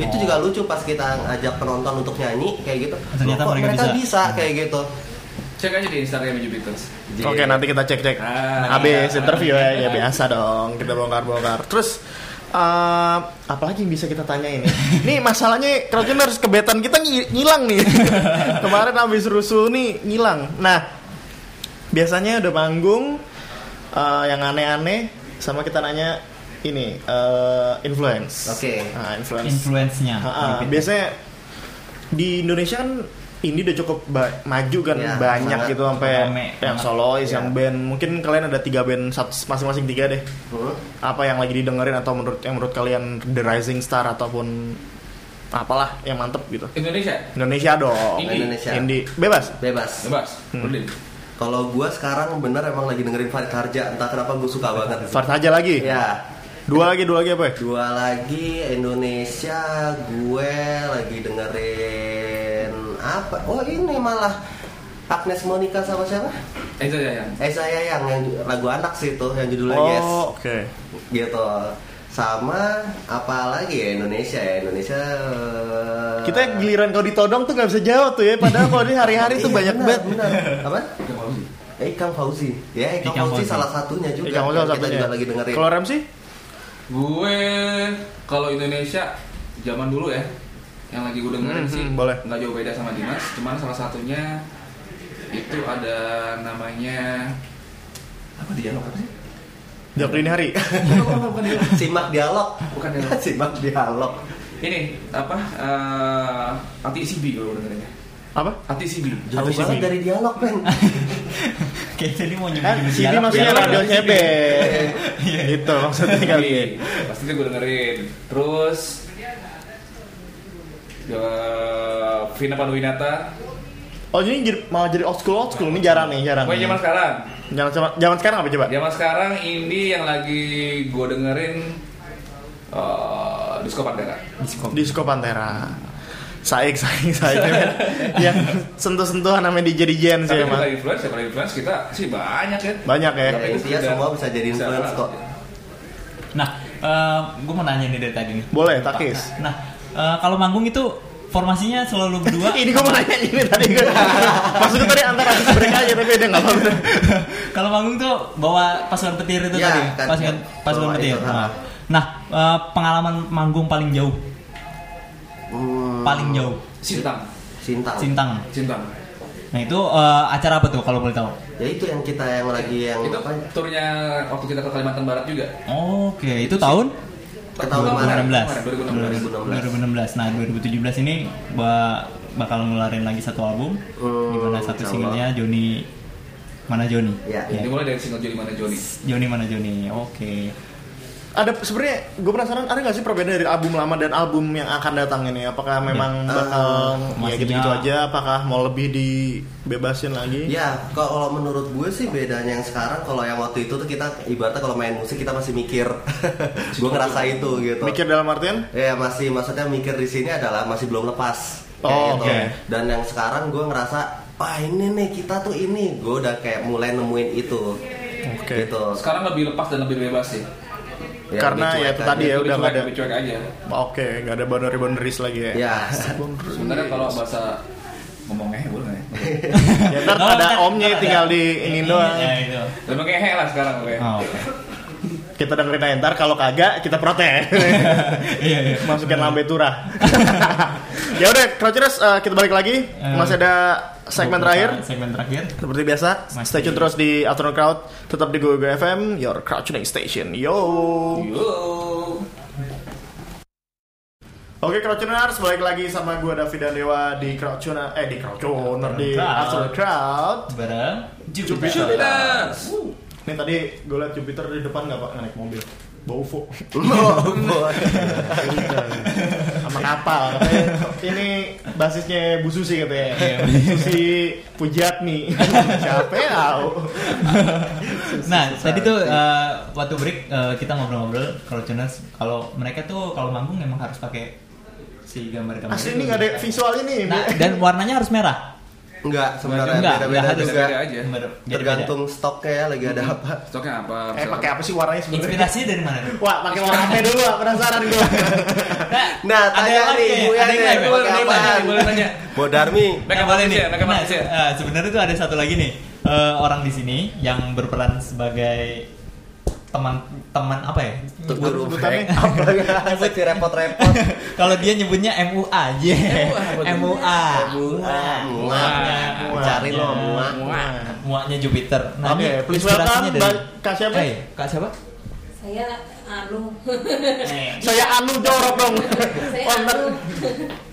Speaker 5: itu juga lucu pas kita ngajak penonton untuk nyanyi kayak gitu
Speaker 3: Oh,
Speaker 4: Ternyata
Speaker 5: Loh, kok
Speaker 4: mereka bisa.
Speaker 5: kayak gitu
Speaker 6: Cek aja di Instagramnya Jupiters.
Speaker 5: Jadi- iya.
Speaker 3: Oke nanti kita cek cek.
Speaker 6: Ah.
Speaker 3: Habis interview ya, ya biasa dong kita bongkar bongkar. Terus eh, apalagi yang bisa kita
Speaker 5: [laughs]
Speaker 3: tanyain? ya? nih masalahnya harus kebetan kita ngi- ngilang
Speaker 5: [laughs]
Speaker 3: nih. Kemarin habis rusuh nih ngilang. Nah biasanya udah manggung eh, yang aneh-aneh sama kita nanya ini eh, influence.
Speaker 5: Oke.
Speaker 3: Nah, influence.
Speaker 4: Influence-nya.
Speaker 3: Ah, ah.
Speaker 4: [laughs]
Speaker 3: biasanya di Indonesia kan indie udah cukup ba- maju kan
Speaker 5: Iya,
Speaker 3: banyak
Speaker 5: sangat.
Speaker 3: gitu sampai
Speaker 4: Rame
Speaker 3: yang
Speaker 4: banget.
Speaker 3: solois,
Speaker 5: Iya.
Speaker 3: yang band. Mungkin kalian ada tiga band sat- masing-masing tiga deh.
Speaker 5: Hmm.
Speaker 3: Apa yang lagi didengerin atau menurut yang menurut kalian The Rising Star ataupun apalah yang mantep gitu.
Speaker 6: Indonesia.
Speaker 3: Indonesia dong.
Speaker 6: Indie.
Speaker 5: Indonesia
Speaker 3: Indie bebas.
Speaker 5: bebas
Speaker 6: Bebas.
Speaker 3: Hmm.
Speaker 6: Berlin.
Speaker 5: kalau gua sekarang bener emang lagi dengerin Farid Harja entah kenapa gua suka banget
Speaker 3: Fart aja lagi.
Speaker 5: ya
Speaker 3: Dua lagi, dua lagi apa ya?
Speaker 5: dua lagi Indonesia gue lagi dengerin apa oh ini malah Agnes Monica sama siapa
Speaker 6: Eh, itu ya. ya.
Speaker 5: Eh saya yang, yang lagu anak sih itu yang judulnya
Speaker 3: oh,
Speaker 5: Yes
Speaker 3: oke.
Speaker 5: gitu sama apa lagi ya Indonesia ya Indonesia eh,
Speaker 3: Kita giliran kau ditodong tuh nggak bisa jawab tuh ya. Padahal kalau di hari-hari tuh
Speaker 5: iya,
Speaker 3: banyak
Speaker 5: benar,
Speaker 3: banget.
Speaker 5: benar. apa Eh, Ikang Fauzi ya Ikang,
Speaker 4: Ikang Fauzi.
Speaker 5: Fauzi salah satunya juga
Speaker 3: Eh, kamu salah
Speaker 5: kita
Speaker 3: satunya.
Speaker 5: juga lagi dengerin
Speaker 3: Kalau Rem sih?
Speaker 6: Gue kalau Indonesia zaman dulu ya, yang lagi gue dengerin
Speaker 3: Hmm,
Speaker 6: sih
Speaker 3: hmm, boleh.
Speaker 6: nggak jauh beda sama Dimas, cuman salah satunya itu ada namanya apa dia apa sih?
Speaker 3: Jawab dini
Speaker 6: [laughs]
Speaker 3: hari.
Speaker 6: Bukan, bukan, bukan dialog.
Speaker 5: simak dialog
Speaker 6: Bukan dialog.
Speaker 5: [laughs] simak dialog
Speaker 6: Ini apa? eh anti ICB kalau ya. gue dengerinnya.
Speaker 3: Apa?
Speaker 6: Anti ICB.
Speaker 5: jauh
Speaker 3: Habis
Speaker 5: banget
Speaker 3: ini.
Speaker 5: dari dialog men
Speaker 4: Kayak tadi mau
Speaker 3: Kan
Speaker 4: nyebut-nyebut
Speaker 3: CD
Speaker 4: dialog, ya.
Speaker 6: ya,
Speaker 3: maksudnya
Speaker 4: dialog.
Speaker 3: radio CB.
Speaker 6: Iya.
Speaker 3: Gitu maksudnya kali. ya.
Speaker 6: Pasti itu gue dengerin. Terus eh, Vina Panduwinata.
Speaker 3: Oh jadi jadi- malah jadi old school old school ini jarang nih jarang.
Speaker 6: Gue zaman sekarang.
Speaker 3: Jangan sama zaman sekarang apa coba?
Speaker 6: Zaman sekarang ini yang lagi gue dengerin eh Disco Pandera.
Speaker 3: Disco Pantera. Saik saik saik [laughs] men. Yang sentuh-sentuhan sama DJ DJan sih
Speaker 6: Tapi kita
Speaker 3: emang.
Speaker 6: influence, kalau influence kita sih banyak ya.
Speaker 3: Banyak ya.
Speaker 5: ya intinya
Speaker 6: Sudah.
Speaker 5: semua bisa jadi influence
Speaker 6: Bisa.
Speaker 5: kok
Speaker 4: Nah, eh gue mau nanya nih dari tadi nih.
Speaker 3: Boleh, takis.
Speaker 4: Nah, eh, kalau manggung itu formasinya selalu
Speaker 5: [laughs]
Speaker 4: berdua.
Speaker 3: Ini gue mau nanya ini
Speaker 6: [laughs]
Speaker 3: tadi gue. Maksudnya tadi antara artis break aja tapi udah nggak apa-apa.
Speaker 4: [laughs] kalau manggung tuh bawa pasukan petir itu
Speaker 5: Ya,
Speaker 4: tadi.
Speaker 5: kan,
Speaker 4: pasukan
Speaker 5: ya.
Speaker 4: pasukan
Speaker 5: Bawa
Speaker 4: petir.
Speaker 5: itu,
Speaker 4: Nah,
Speaker 5: ha.
Speaker 4: Nah, eh, pengalaman manggung paling jauh,
Speaker 5: Hmm,
Speaker 4: paling jauh
Speaker 6: Sintang,
Speaker 5: Sintang
Speaker 4: Sintang.
Speaker 6: Sintang.
Speaker 4: Nah, itu eh, acara apa tuh kalau boleh tahu?
Speaker 5: ya itu yang kita yang lagi yang
Speaker 6: Itu
Speaker 5: Oh, apa ya?
Speaker 6: turnya waktu kita ke Kalimantan Barat juga.
Speaker 4: Oke, itu tahun
Speaker 5: Ke tahun kemarin.
Speaker 6: 2016.
Speaker 4: 2016. Nah, 2017 ini ba- bakal ngeluarin lagi satu album
Speaker 5: Hmm,
Speaker 4: di mana satu ya?
Speaker 5: insyaallah.
Speaker 4: singlenya Joni mana Joni? Iya.
Speaker 5: Ya.
Speaker 6: Dimulai dari single Jolly Mana Joni.
Speaker 4: Joni mana Joni? Oke.
Speaker 3: Ada sebenarnya gue penasaran ada nggak sih perbedaan dari album lama dan album yang akan datang ini? Apakah memang
Speaker 5: Eh,
Speaker 3: bakal ya
Speaker 4: maksudnya-
Speaker 3: gitu-gitu aja? Apakah mau lebih dibebasin lagi?
Speaker 5: Ya, kalau menurut gue sih bedanya yang sekarang kalau yang waktu itu tuh kita ibaratnya kalau main musik kita masih
Speaker 3: [laughs]
Speaker 5: mikir. gue ngerasa itu gitu.
Speaker 3: Mikir dalam artian?
Speaker 5: Ya masih maksudnya mikir di sini adalah masih belum lepas. Kayak
Speaker 3: Oh,
Speaker 5: gitu.
Speaker 3: oke.
Speaker 5: Dan yang sekarang gue ngerasa wah ini nih kita tuh ini gue udah kayak mulai nemuin itu.
Speaker 3: Oke.
Speaker 5: Gitu.
Speaker 6: Sekarang lebih lepas dan lebih bebas sih.
Speaker 3: Karena
Speaker 5: lebih
Speaker 3: ya
Speaker 5: cuek
Speaker 3: itu
Speaker 5: aja.
Speaker 3: tadi ya
Speaker 6: Lebih
Speaker 3: udah nggak
Speaker 6: cuek,
Speaker 3: ada. Iya.
Speaker 6: lebih cuek aja.
Speaker 3: Oke, nggak ada boundary boundaries lagi ya.
Speaker 5: Ya. [laughs]
Speaker 6: Sebenarnya kalau bahasa ngomongnya boleh. ya?
Speaker 3: Ya, ntar
Speaker 4: Oh,
Speaker 3: ada
Speaker 4: ntar-
Speaker 3: omnya tinggal di ini doang.
Speaker 4: Ya, itu.
Speaker 6: Lebih pakai he lah sekarang Ah, oke.
Speaker 4: Oh, oke.
Speaker 3: Kita dengerin aja ntar kalau kagak kita protes.
Speaker 4: [laughs] Iya, iya.
Speaker 3: Masukin lambe turah. ya udah, Crouchers eh, kita balik lagi.
Speaker 4: Eh,
Speaker 3: Masih ada segmen terakhir.
Speaker 4: Segmen terakhir.
Speaker 3: Seperti biasa,
Speaker 4: Masih.
Speaker 3: stay tune terus di Afternoon Crowd, tetap di Google FM, your crowdtuning station. Yo. Oke, Crowdtuners, balik lagi sama gue David dan Dewa di Crowdtuner, eh di Crowdtuner, di
Speaker 4: Crowd.
Speaker 3: Afternoon Crowd.
Speaker 4: Bareng.
Speaker 6: Jupiter.
Speaker 3: Nih tadi gue liat Jupiter di depan nggak pak naik mobil? Bau
Speaker 4: [laughs]
Speaker 3: UFO sama kapal. Katanya, Ini basisnya Bu Susi
Speaker 4: Iya,
Speaker 3: katanya. Susi [laughs] Pujatmi. Siapa ya? tahu?
Speaker 4: [laughs] Nah, tadi tuh eh, waktu break eh, kita ngobrol-ngobrol kalau Jonas kalau mereka tuh kalau manggung memang harus pakai si gambar-gambar.
Speaker 3: Asli
Speaker 4: itu.
Speaker 3: ini nggak ada visualnya nih.
Speaker 4: Nah, dan warnanya harus merah.
Speaker 5: Enggak, sebenarnya
Speaker 4: Enggak,
Speaker 5: beda-beda
Speaker 4: enggak harus.
Speaker 5: juga.
Speaker 6: Beda
Speaker 3: Iya.
Speaker 6: aja.
Speaker 4: Beda-beda.
Speaker 5: Tergantung stoknya ya, lagi ada apa.
Speaker 6: Stoknya apa?
Speaker 3: eh
Speaker 6: misalnya?
Speaker 3: pakai apa sih warnanya sebenarnya?
Speaker 4: Inspirasinya dari
Speaker 3: [laughs]
Speaker 4: mana? tuh?
Speaker 3: Wah, pakai warna apa dulu? Wak? Penasaran gue.
Speaker 5: Nah,
Speaker 4: Ada yang
Speaker 5: tanya
Speaker 4: lain
Speaker 5: nih,
Speaker 4: ya?
Speaker 5: gue
Speaker 4: Ada yang lain?
Speaker 6: Boleh nanya, boleh nanya.
Speaker 5: Bodarmi.
Speaker 6: Make up
Speaker 4: boleh
Speaker 6: artist ya, make up
Speaker 4: Nah,
Speaker 6: artist ya.
Speaker 4: eh, sebenarnya tuh ada satu lagi nih eh, orang di sini yang berperan sebagai teman-teman apa ya?
Speaker 5: Tunggu
Speaker 3: Nyebut- sebutannya
Speaker 5: rupek. Apa ya? Mesti repot-repot.
Speaker 4: [laughs] Kalau dia nyebutnya MUA, yeah. Ah, MUA.
Speaker 5: MUA.
Speaker 4: Muak.
Speaker 5: Cari lo, muak.
Speaker 3: Nah,
Speaker 4: Muaknya Jupiter. Nah,
Speaker 3: Oke,
Speaker 4: ini
Speaker 3: please
Speaker 4: inspirasinya
Speaker 3: welcome
Speaker 4: dari
Speaker 3: Mbak- Kak siapa?
Speaker 4: Eh, Kak
Speaker 3: [laughs]
Speaker 4: siapa?
Speaker 8: Saya Anu.
Speaker 3: Saya Anu dorok dong.
Speaker 8: Saya
Speaker 3: Oh, ntar-
Speaker 8: Anu.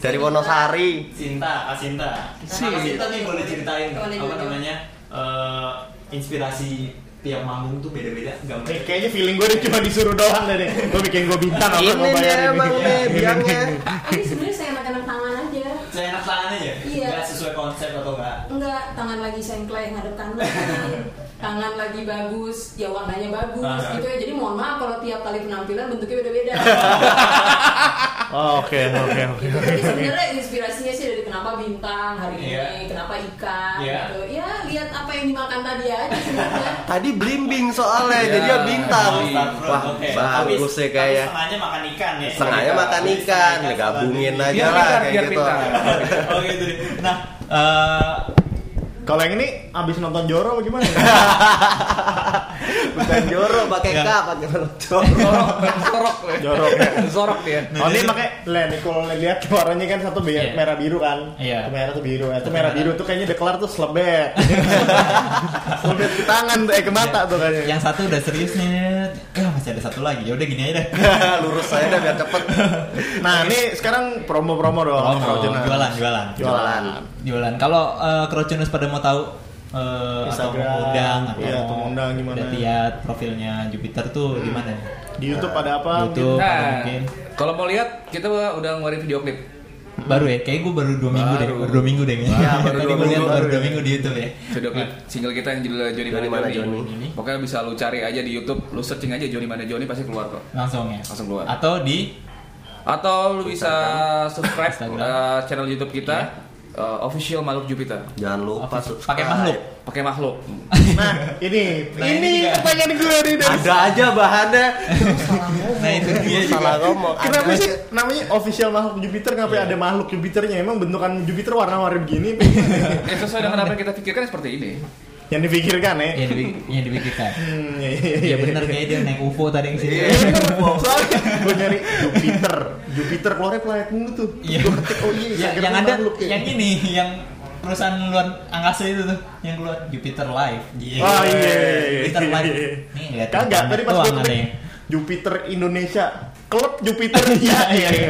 Speaker 5: Dari Wonosari.
Speaker 4: Sinta, Kak Sinta.
Speaker 8: Si.
Speaker 4: Nah, Kak Sinta nih boleh ceritain
Speaker 8: Boleh,
Speaker 4: apa
Speaker 8: boleh.
Speaker 4: namanya eh, inspirasi tiap manggung tuh beda-beda gambar.
Speaker 3: Nih, kayaknya feeling gue dia cuma disuruh doang deh. Gue bikin gue bintang apa
Speaker 5: Ini
Speaker 3: mau
Speaker 5: nih
Speaker 3: bayar
Speaker 5: emang
Speaker 3: ini.
Speaker 5: nih biangnya.
Speaker 8: Ini sebenarnya saya makanan tangan aja.
Speaker 4: Saya enak tangan aja,
Speaker 8: Iya.
Speaker 4: ya? nggak sesuai konsep atau nggak?
Speaker 8: Enggak, tangan lagi sengkleng hadap kanan. tangan lagi bagus, ya warnanya bagus
Speaker 4: Ah.
Speaker 8: gitu ya. Jadi mohon maaf kalau tiap kali penampilan bentuknya
Speaker 4: [laughs]
Speaker 8: beda-beda.
Speaker 3: Oh, Oke, oke, oke.
Speaker 8: Gitu. Tapi sebenarnya inspirasinya sih dari kenapa bintang hari ini,
Speaker 4: Iya.
Speaker 8: kenapa ikan
Speaker 4: Iya.
Speaker 8: gitu. Ya lihat apa yang dimakan tadi aja sebenarnya.
Speaker 5: Tadi blimbing soalnya, jadi dia bintang.
Speaker 4: Oh, start front,
Speaker 5: Wah,
Speaker 4: oke.
Speaker 5: bagus
Speaker 4: Tapi-
Speaker 5: ya
Speaker 4: tapi
Speaker 5: kayaknya.
Speaker 4: Setengahnya makan ikan ya.
Speaker 5: Setengahnya makan ikan, ya gabungin aja
Speaker 6: Iya, Biar
Speaker 5: lah
Speaker 6: pintar,
Speaker 5: kayak
Speaker 6: biar
Speaker 5: gitu.
Speaker 6: pintar.
Speaker 4: [laughs] Oh gitu deh. Nah, eh,
Speaker 3: Kalau yang ini abis nonton Joro apa
Speaker 4: [laughs]
Speaker 3: gimana?
Speaker 5: Bukan Joro, pakai K, pakai [laughs] Joro.
Speaker 6: Zorok,
Speaker 3: Jorok ya.
Speaker 6: Zorok ya.
Speaker 3: Oh ini makanya, lah nih kalau lihat warnanya kan satu biru,
Speaker 4: Iya.
Speaker 3: merah biru kan,
Speaker 4: Iya.
Speaker 3: Itu merah tuh biru, ya. itu
Speaker 4: Satu
Speaker 3: merah
Speaker 4: merah.
Speaker 3: biru tuh kayaknya udah kelar tuh
Speaker 4: [laughs]
Speaker 3: selebet, selebet ke tangan tuh, eh ke mata tuh kayaknya.
Speaker 4: yang satu udah serius nih. Eh, masih ada satu lagi. Ya udah gini aja deh.
Speaker 5: Lurus saya dah biar cepet.
Speaker 3: Nah ini sekarang promo-promo dong,
Speaker 4: Promo,
Speaker 3: Crowdjournal.
Speaker 4: jualan, jualan.
Speaker 3: Oh, jualan.
Speaker 4: Jualan. Kalau uh, Crowdtuners pada mau tahu eh, atau
Speaker 3: Instagram,
Speaker 4: mau ngundang atau
Speaker 3: iya, atau ngundang gimana.
Speaker 4: udah lihat profilnya Jupiter tuh gimana?
Speaker 3: Di YouTube ada apa?
Speaker 4: YouTube ada
Speaker 6: Nah,
Speaker 4: mungkin
Speaker 6: kalau mau lihat kita udah ngeluarin video klip.
Speaker 4: baru ya. Kayaknya gue baru dua minggu deh.
Speaker 6: Baru.
Speaker 4: Baru dua minggu deh. [laughs]
Speaker 5: Ya, baru
Speaker 4: Tadi
Speaker 5: dua
Speaker 4: gue lihat
Speaker 5: minggu,
Speaker 4: baru
Speaker 5: baru
Speaker 4: dua
Speaker 5: ya.
Speaker 4: minggu di YouTube ya.
Speaker 6: Video klip single kita yang judulnya Johnny
Speaker 5: Johnny
Speaker 6: Mana
Speaker 5: Mana
Speaker 6: Johnny.
Speaker 4: Johnny.
Speaker 6: Pokoknya bisa lu cari aja di YouTube, lu searching aja Johnny Mana Johnny pasti keluar kok.
Speaker 4: Langsung ya.
Speaker 6: Langsung keluar.
Speaker 4: Atau di
Speaker 6: Atau lu bisa subscribe
Speaker 4: Instagram. Iya.
Speaker 6: eh, channel YouTube kita eh, official makhluk Jupiter.
Speaker 5: Jangan lupa subscribe.
Speaker 4: pakai makhluk.
Speaker 6: Pakai makhluk.
Speaker 4: [laughs]
Speaker 3: Nah ini,
Speaker 4: Nah,
Speaker 3: ini
Speaker 4: ini juga.
Speaker 3: pertanyaan gue nih dari
Speaker 5: Ada aja bahannya. Iya
Speaker 4: Nah itu dia juga.
Speaker 5: Salah ngomong. Ada
Speaker 3: Kenapa
Speaker 5: aja.
Speaker 3: sih Iya. namanya official makhluk Jupiter kenapa ada makhluk Jupiternya? Emang bentukan Jupiter warna-warni begini? [laughs]
Speaker 6: Ya sesuai dengan apa yang kita pikirkan seperti ini.
Speaker 3: yang dipikirkan ya?
Speaker 4: Yang dipikir- yang dipikirkan.
Speaker 3: Hmm, iya, iya,
Speaker 4: Iya
Speaker 3: iya.
Speaker 4: bener kayaknya dia naik UFO tadi yang sini.
Speaker 5: Iya.
Speaker 3: [laughs] Soalnya gue nyari Jupiter, Jupiter keluarnya planet mulu tuh.
Speaker 4: Iya.
Speaker 3: Gua ketik, oh iya,
Speaker 4: Ya,
Speaker 3: Instagram
Speaker 4: yang ada
Speaker 3: makhluk ya.
Speaker 4: yang ini yang perusahaan luar angkasa itu tuh yang keluar Jupiter Live. Iya.
Speaker 3: Oh iya. iya, iya.
Speaker 4: Jupiter Live.
Speaker 3: Iya.
Speaker 4: Nih lihat.
Speaker 3: Kagak tadi pas gue
Speaker 4: doang
Speaker 3: ketik
Speaker 4: adanya.
Speaker 3: Jupiter Indonesia. Klub Jupiter [laughs] iya iya iya.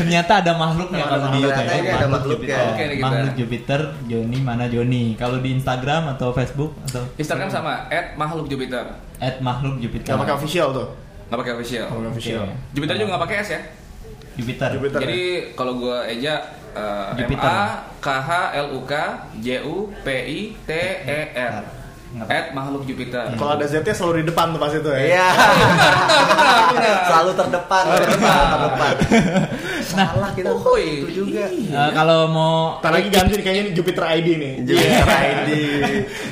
Speaker 4: Ternyata ada makhluknya
Speaker 5: Ada
Speaker 4: kalau di
Speaker 5: makhluk,
Speaker 4: YouTube ya.
Speaker 5: ternyata ada makhluknya.
Speaker 4: Jupiter.
Speaker 6: Oke, nih kita.
Speaker 4: Makhluk Jupiter Joni mana Joni. Kalau di Instagram atau Facebook atau
Speaker 6: Instagram sama @makhlukjupiter.
Speaker 4: @makhlukjupiter.
Speaker 3: Gak pakai official tuh.
Speaker 6: Nggak pakai official.
Speaker 3: Gak pakai official.
Speaker 4: Oke.
Speaker 6: Jupiter juga nggak pakai S ya.
Speaker 4: Jupiter.
Speaker 3: Jupiter.
Speaker 6: Jadi kalau gue eja eh, M
Speaker 4: ya. Jupiter.
Speaker 6: A K H L U K J U P I T E R at makhluk
Speaker 4: Hmm.
Speaker 6: Jupiter.
Speaker 3: Kalau ada Z-nya selalu di depan tuh pas itu ya.
Speaker 4: [laughs]
Speaker 5: Iya. Selalu terdepan, terdepan, terdepan.
Speaker 4: Nah,
Speaker 5: Salah kita.
Speaker 6: Oh, iya.
Speaker 5: Itu juga.
Speaker 4: Eh, kalau mau
Speaker 3: Ntar lagi ganti nih, kayaknya ini Jupiter ID nih.
Speaker 5: Jupiter ID.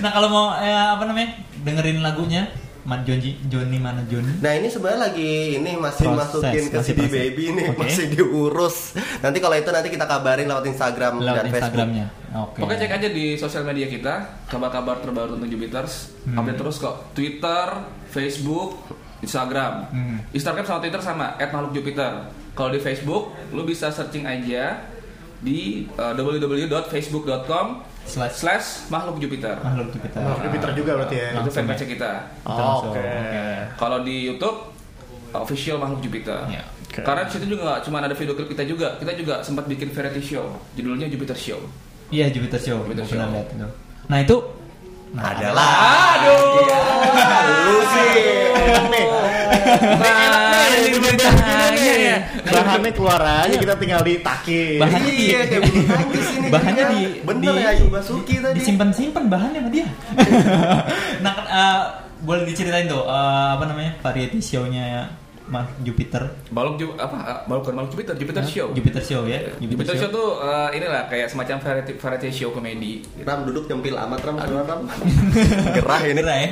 Speaker 4: Nah kalau mau eh, apa namanya dengerin lagunya Man Jonji Joni mana Joni?
Speaker 5: Nah ini sebenarnya lagi ini masih
Speaker 4: Proses,
Speaker 5: masukin ke
Speaker 4: masih
Speaker 5: CD
Speaker 4: proses.
Speaker 5: Baby nih
Speaker 4: Oke.
Speaker 5: masih diurus. Nanti kalau itu nanti kita kabarin lewat Instagram dan
Speaker 4: Lewat
Speaker 5: Facebook.
Speaker 4: Instagramnya. Oke.
Speaker 6: Pokoknya cek aja di sosial media kita kabar-kabar terbaru tentang Jupiters.
Speaker 4: Hmm.
Speaker 6: Update terus kok Twitter, Facebook, Instagram.
Speaker 4: Hmm.
Speaker 6: Instagram sama Twitter sama @makhlukjupiter. Kalau di Facebook, lu bisa searching aja di uh, www.facebook.com
Speaker 4: Slash.
Speaker 6: slash makhluk Jupiter.
Speaker 4: Makhluk Jupiter.
Speaker 3: Nah, Jupiter juga berarti ya.
Speaker 6: Itu
Speaker 4: Langsung
Speaker 6: fanpage
Speaker 4: ya.
Speaker 6: kita.
Speaker 4: Kita
Speaker 3: Oh,
Speaker 4: langsung.
Speaker 3: Oke.
Speaker 6: Kalau di YouTube official makhluk Jupiter.
Speaker 4: Ya.
Speaker 3: Oke.
Speaker 6: Karena di situ juga cuma ada video klip kita juga. Kita juga sempat bikin variety show. Judulnya Jupiter Show.
Speaker 4: Iya Jupiter Show.
Speaker 6: Jupiter Show.
Speaker 4: Jupiter Show. Lihat itu. Nah itu. Nah,
Speaker 5: Adalah.
Speaker 6: Aduh.
Speaker 5: Lu sih.
Speaker 3: Nih,
Speaker 6: Nah, ini beritanya ya.
Speaker 3: bahannya keluar aja kita tinggal ditaki.
Speaker 4: Bahan- Bahannya
Speaker 5: Iya
Speaker 4: di-
Speaker 5: kayak bulu tangkis ini.
Speaker 4: bahannya
Speaker 5: kan.
Speaker 4: di
Speaker 5: bener
Speaker 4: di-
Speaker 5: ya Ayu Basuki
Speaker 4: di-
Speaker 5: tadi.
Speaker 4: disimpan-simpan bahannya sama dia. [laughs] nah, kan, eh, boleh diceritain tuh eh, apa namanya? Variety show-nya Mas Jupiter.
Speaker 6: Balok Ju- apa eh, balok bukan balok Jupiter, Jupiter
Speaker 4: Hah?
Speaker 6: Show.
Speaker 4: Jupiter Show ya.
Speaker 6: Jupiter Show tuh eh, inilah kayak semacam variety variety show komedi,
Speaker 5: Ram duduk nyempil amat Ram Ram. Ram. [laughs] Gerah ini.
Speaker 4: Bener ya.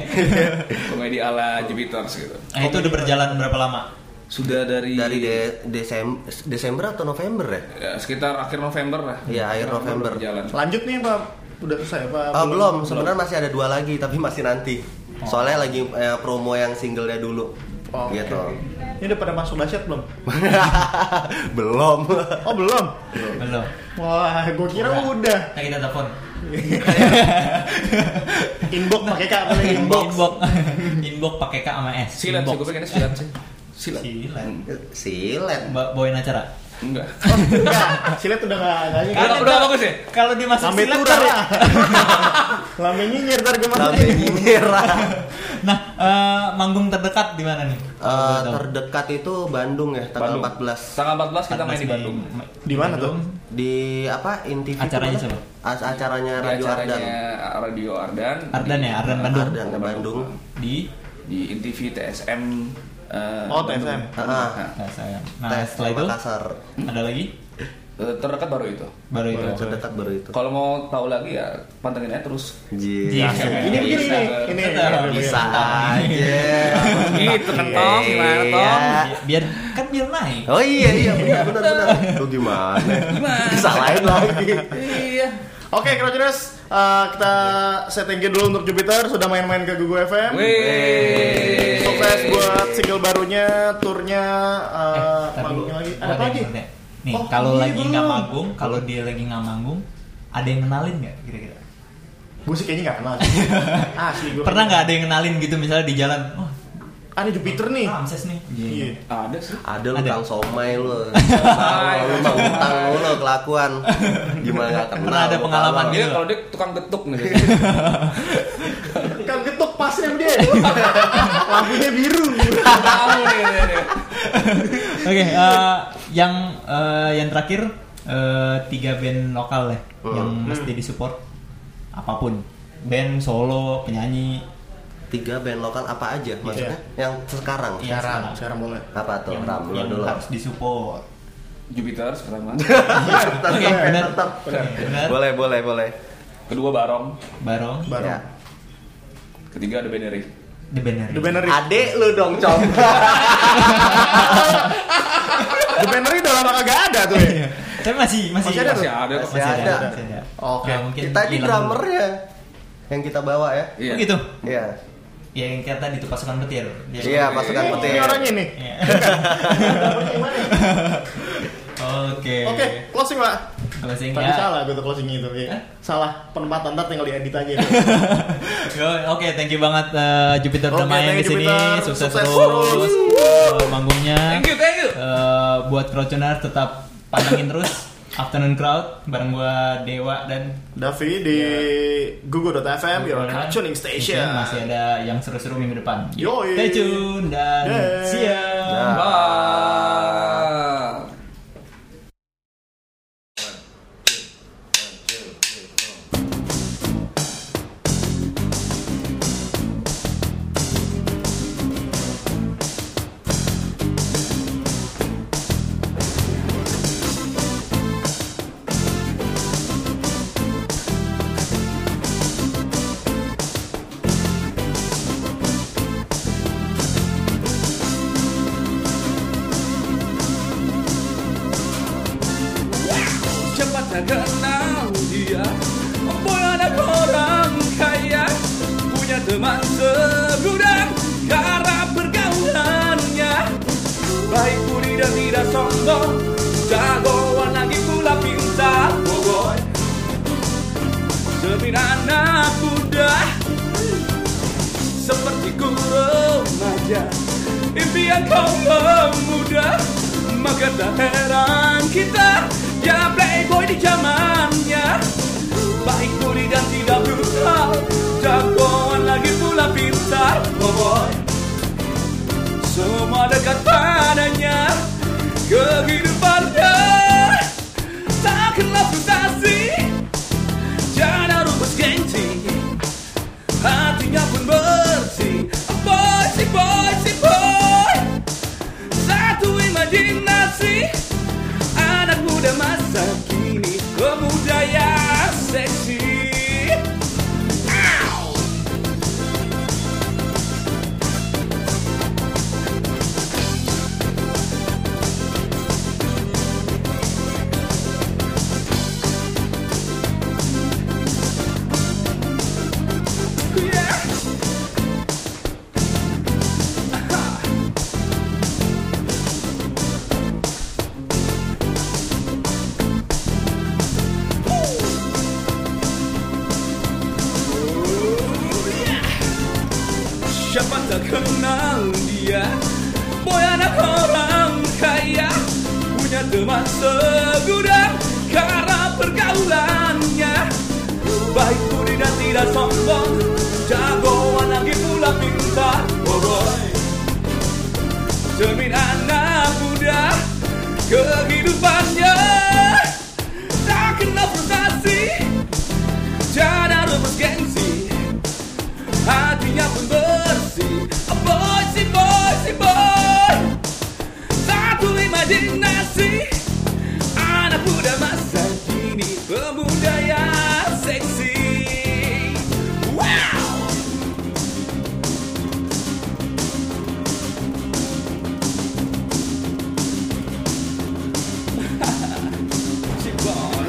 Speaker 6: komedi ala Jupiter gitu.
Speaker 4: Nah, itu udah berjalan berapa lama?
Speaker 6: Sudah dari,
Speaker 5: Dari de- Desem- Desember atau November ya?
Speaker 6: ya, sekitar akhir November lah.
Speaker 5: Iya, akhir November.
Speaker 6: berjalan.
Speaker 3: Lanjut nih Pak. Udah selesai Pak.
Speaker 5: Ah, belum, sebenarnya masih ada dua lagi tapi masih nanti. Soalnya lagi eh, promo yang singlenya dulu.
Speaker 3: Oke. [laughs]
Speaker 5: Gitu.
Speaker 3: Ini udah pada masuk dahsyat belum?
Speaker 5: belum.
Speaker 3: Oh belum.
Speaker 4: Belum.
Speaker 3: Wah, gue kira udah.
Speaker 4: Nah, kita telepon.
Speaker 3: Inbox pakai kak pakai
Speaker 4: [laughs]
Speaker 3: inbox.
Speaker 4: Inbox. Inbox pakai K sama S.
Speaker 6: Silat sih,
Speaker 4: Inbox.
Speaker 6: gue pengennya silat sih. Silat.
Speaker 4: Silat.
Speaker 5: Silet.
Speaker 4: Mbak bawain acara.
Speaker 6: Enggak.
Speaker 3: Enggak, silet udah nggak nggak
Speaker 6: Kan
Speaker 4: Kalau-
Speaker 6: udah bagus ya?
Speaker 4: Kalau dimasuk
Speaker 3: Lambe
Speaker 4: silat ya.
Speaker 3: tura.
Speaker 4: ntar-
Speaker 3: [laughs] Lambe nyinyir ntar gue masuk.
Speaker 5: Sampai nyirah.
Speaker 4: [laughs] Nah, eh, manggung terdekat di mana nih?
Speaker 5: Eh, terdekat itu Bandung ya tanggal
Speaker 6: Bandung.
Speaker 5: 14
Speaker 6: Tanggal 14 kita main di Bandung.
Speaker 3: Di mana tuh?
Speaker 5: di apa Intivi
Speaker 4: Acaranya
Speaker 5: itu
Speaker 4: siapa?
Speaker 5: mana? As- acaranya
Speaker 6: Di
Speaker 5: Radio
Speaker 6: acaranya
Speaker 5: Ardan
Speaker 6: Radio Ardan.
Speaker 4: Ardan
Speaker 6: di-
Speaker 4: ya, Ardan Bandung.
Speaker 5: Ardan Bandung
Speaker 4: Di
Speaker 6: Di INTV TSM. eh,
Speaker 3: Oh,
Speaker 6: Bandung.
Speaker 3: TSM.
Speaker 5: Ah.
Speaker 6: Nah,
Speaker 4: Nah, saya. Nah,
Speaker 5: Tes
Speaker 4: setelah itu
Speaker 5: Makassar
Speaker 4: ada lagi
Speaker 6: eh, terdekat baru itu.
Speaker 4: baru itu.
Speaker 5: terdekat baru itu
Speaker 6: Kalau mau tahu lagi ya pantengin aja terus.
Speaker 5: Jis.
Speaker 4: Jis.
Speaker 3: Iya. Ini begini
Speaker 6: Bisa,
Speaker 3: nih.
Speaker 6: Kak.
Speaker 3: Ini.
Speaker 4: Bisa,
Speaker 3: ini, ini.
Speaker 5: bisa
Speaker 4: Iya.
Speaker 5: aja
Speaker 6: Gitu kan Tom, gimana Tom?
Speaker 5: Iya.
Speaker 4: Bi- Biar kan biar naik.
Speaker 3: Eh,
Speaker 5: oh iya iya benar benar benar lu gimana disalahin lagi
Speaker 6: Iya.
Speaker 3: Oke, Crowdtuners, eh, kita saya thank you dulu untuk Jupiter sudah main-main ke Gugu FM.
Speaker 6: Wih.
Speaker 3: Sukses buat single barunya, turnya,
Speaker 4: Eh,
Speaker 3: eh,
Speaker 4: ntar dulu.
Speaker 3: manggungnya lagi.
Speaker 4: Oh,
Speaker 3: Ada apa
Speaker 4: yang
Speaker 3: lagi?
Speaker 4: ngerti. Nih,
Speaker 3: Oh,
Speaker 4: kalau
Speaker 3: iya,
Speaker 4: lagi nggak
Speaker 3: belum.
Speaker 4: manggung, kalau dia lagi nggak manggung, ada yang kenalin nggak kira-kira?
Speaker 3: Gue sih kayaknya nggak kenal.
Speaker 4: [laughs]
Speaker 3: Ah, Asli gue.
Speaker 4: Pernah nggak ada yang kenalin gitu misalnya di jalan? Wah,
Speaker 3: Ada Ah, Jupiter nih.
Speaker 4: Ramses nih.
Speaker 3: Eh,
Speaker 4: Gitu.
Speaker 3: Iya.
Speaker 6: Ada sih.
Speaker 5: ada lu
Speaker 4: Ada.
Speaker 5: kang somai lu Sama lu mah utang lu lu kelakuan gimana nggak kenal
Speaker 4: Pernah ada
Speaker 5: muka
Speaker 4: pengalaman
Speaker 5: lu.
Speaker 4: gitu?
Speaker 6: Dia kalau dia tukang getuk nih. [laughs]
Speaker 3: Kan getuk pasnya
Speaker 4: [laughs]
Speaker 3: dia. Lampunya biru.
Speaker 6: Tahu nih. dia, dia.
Speaker 4: Oke, eh, yang eh, yang terakhir eh, tiga band lokal ya, yang mesti disupport apapun. Band solo, penyanyi,
Speaker 5: tiga band lokal apa aja maksudnya yang sekarang
Speaker 4: Iya.
Speaker 3: Sekarang, sekarang boleh.
Speaker 5: apa tuh
Speaker 4: yang,
Speaker 5: Ram lu
Speaker 4: yang
Speaker 5: dulu
Speaker 4: harus disupport.
Speaker 6: Jupiter pertama.
Speaker 5: tetap
Speaker 4: Oke, benar.
Speaker 5: tetap
Speaker 4: Benar.
Speaker 5: boleh boleh boleh
Speaker 6: Kedua Barong.
Speaker 4: Iya, Barong,
Speaker 3: Baru.
Speaker 5: ya.
Speaker 6: Ketiga ada Beneri.
Speaker 4: The Banner.
Speaker 3: The
Speaker 4: [laughs]
Speaker 3: Bannery.
Speaker 5: adek lu dong com
Speaker 3: The Bannery udah lama kagak ada tuh ya.
Speaker 4: Iya. Tapi masih masih
Speaker 3: Masih ada
Speaker 6: Masih ada kok.
Speaker 5: Masih ada.
Speaker 4: masih ada.
Speaker 3: Oke.
Speaker 4: Nah, mungkin
Speaker 5: kita di
Speaker 4: hilang
Speaker 5: drummer
Speaker 4: dulu.
Speaker 5: ya yang kita bawa ya
Speaker 6: Iya.
Speaker 4: Oh gitu.
Speaker 5: iya
Speaker 4: Ya yang kayak tadi tuh pasukan petir. Dia-
Speaker 5: iya pasukan
Speaker 3: Ini-
Speaker 5: petir
Speaker 3: Ini orangnya nih.
Speaker 5: [laughs]
Speaker 4: Iya. [laughs]
Speaker 3: Gimana ya?
Speaker 4: Oke.
Speaker 3: Oke, closing pak. Tadi
Speaker 4: Closingnya.
Speaker 3: salah gue tuh closing itu.
Speaker 4: Iya. Hah?
Speaker 3: ya. Salah penempatan ntar tinggal diedit
Speaker 4: [laughs]
Speaker 3: aja.
Speaker 4: Yo, Oke, thank you banget eh, Jupiter
Speaker 3: Oke,
Speaker 4: udah main
Speaker 3: thank
Speaker 4: di
Speaker 3: you,
Speaker 4: sini.
Speaker 3: Jupiter.
Speaker 4: Sukses,
Speaker 3: Sukses terus.
Speaker 4: terus eh, manggungnya.
Speaker 6: Thank you, thank you.
Speaker 4: Eh, buat Crowdtuner tetap pantengin terus Afternoon Crowd bareng gua Dewa dan
Speaker 3: Davi di
Speaker 4: Iya.
Speaker 3: gugu.fm, your
Speaker 4: Crowdtuner.
Speaker 3: tuning station.
Speaker 4: Masih ada yang seru-seru minggu depan.
Speaker 3: Yoi.
Speaker 4: Stay tune dan
Speaker 3: Dah.
Speaker 4: see ya.
Speaker 5: Nah.
Speaker 6: Bye.
Speaker 9: Thank
Speaker 6: kenal dia Boy ada orang kaya Punya teman segudang Cara pergaulannya Baik budi dan tidak sombong Jagoan lagi pula pintar Oh boy Demi anak muda seperti ku remaja Impian kau pemuda Maka tak heran kita Ya playboy di zamannya Baik budi dan tidak brutal Jagoan lagi pula pintar Oh boy Semua dekat padanya Kehidupannya Tak kenal frustasi Jangan rumus gengsi hatinya pun bersih Boy, si boy, si boy Satu imajinasi Anak muda masa kini Pemuda yang seksi Ow! Yeah. Siapa tak kenal dia Boy anak orang kaya Punya teman segudang Karena pergaulannya Baik budi dan tidak sombong Jagoan lagi pula pintar Oh boy Cermin anak muda Kehidupannya Tak kenal frustasi Tiada rumus gengsi hatinya pun bersih Boy, si boy, si boy Satu imajinasi Anak muda masa kini Pemuda yang seksi Wow Si boy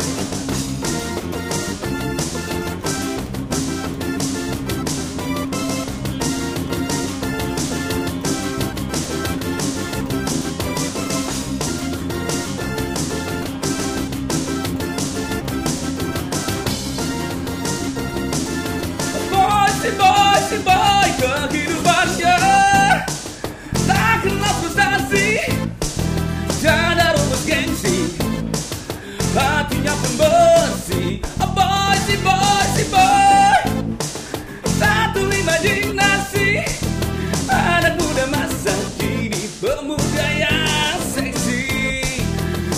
Speaker 6: Boy, si boy, si boy Kehidupannya Tak kenal frustasi Tiada rumus gengsi Hatinya pun bersih Oh, Boy, si boy, si boy Satu imajinasi Anak muda masa kini Pemuda yang seksi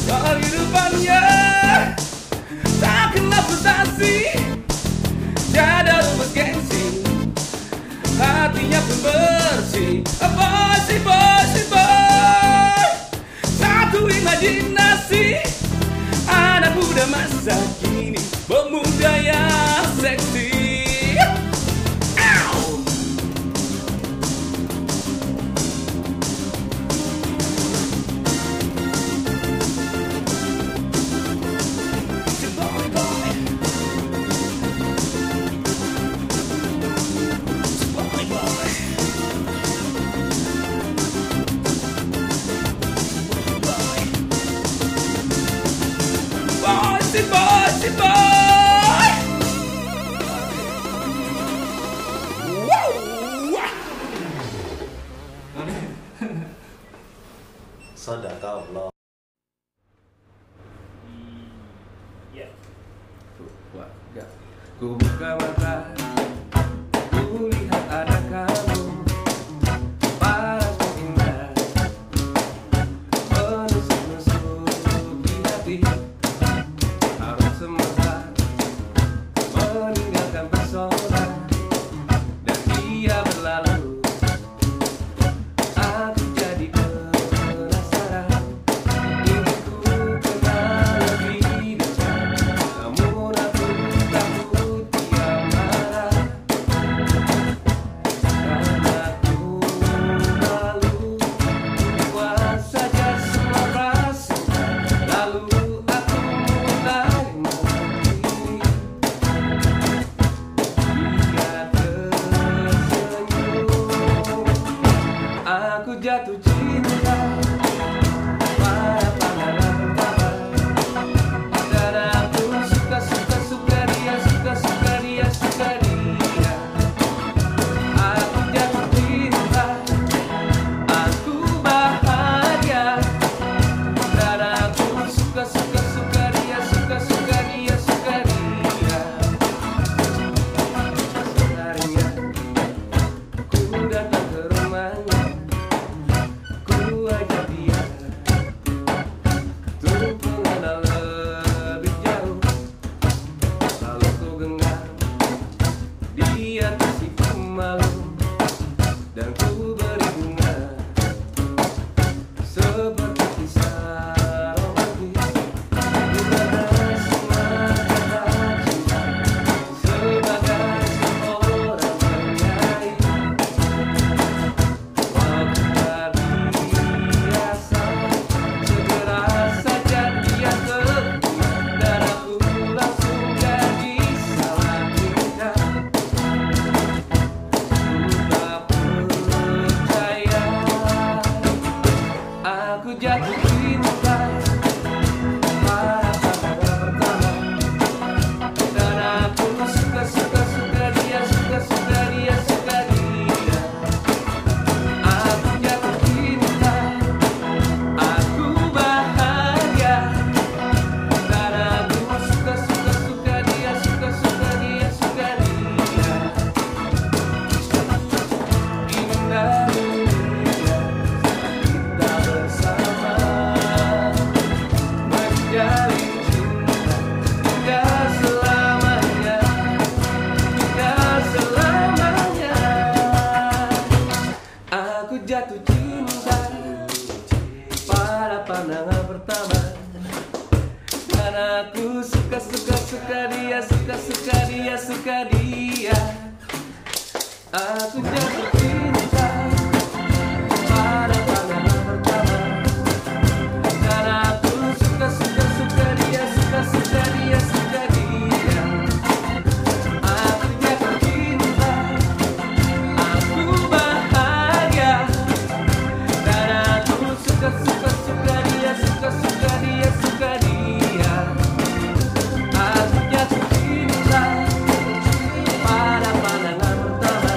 Speaker 6: Kehidupannya Tak kenal frustasi tiada rumus gengsi Hatinya pun bersih Boy, si boy, si boy Satu imajinasi Anak muda masa kini Pemuda yang seksi Ow! Si boy, boy. Bossy, bossy, boy!
Speaker 5: Sudah kau belum.
Speaker 7: Keluarga. Ku buka mata Ku lihat ada kamu Parasmu indah Menusuk-nusuk di hati Harus semesta Meninggalkan pesona Dan dia berlalu Aku jadi penasaran jatuh cinta pada pangeran pertama. Karena aku suka, suka, suka dia, suka, suka dia, suka dia. Aku jatuh cinta, aku bahagia. Karena aku suka, suka, suka dia, suka, suka dia, suka dia. Sebenarnya Ku datang ke rumahnya Ku ajak dia Untuk mengenal lebih jauh Lalu ku genggam Di atas si malu Dan ku beri bunga Seperti kisah romantis Ku bahas mata cinta Sebagai seorang penyanyi Segera saja dia keluar Dan aku langsung jadi salah kita Ku tak percaya Aku jatuh cinta Pada pandangan pertama Dan aku suka, suka, suka dia Suka, suka dia, suka dia Aku jatuh cinta, aku bahagia. Karena aku suka suka suka dia, suka suka dia, suka dia. Indah dunia kita bersama menjalin cinta hingga selamanya, hingga selamanya. Aku jatuh cinta pada pandangan pertama Dan aku suka suka suka dia suka suka dia suka dia Aku jatuh cinta pada pandangan pertama Dan aku suka suka suka dia suka suka dia suka dia Aku jatuh cinta Aku bahagia karena aku suka suka suka dia suka suka dia suka dia. Aku jatuh cinta pada pandangan pertama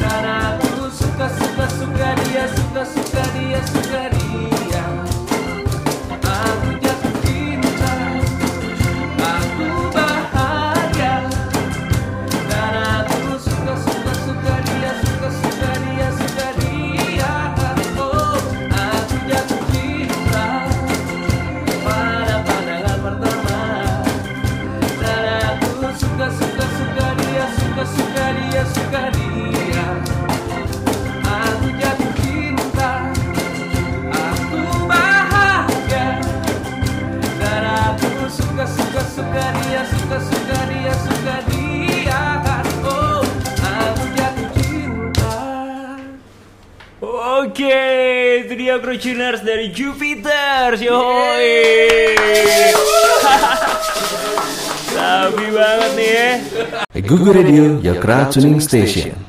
Speaker 7: karena aku suka suka suka dia suka suka dia suka dia. Aku jatuh cinta, aku bahagia. Karena aku suka suka suka dia suka suka dia suka dia oh aku jatuh cinta pada pandangan pertama karena aku suka suka suka dia suka suka dia suka dia aku jatuh cinta aku bahagia karena aku suka suka suka dia suka suka dia suka dia oh aku jatuh cinta
Speaker 4: Oke, itu dia Crunchers dari Jupiter. Yoi.
Speaker 7: [laughs]
Speaker 4: Sabi banget nih ya.
Speaker 7: ¿eh?
Speaker 2: Google Radio, your crowd tuning station.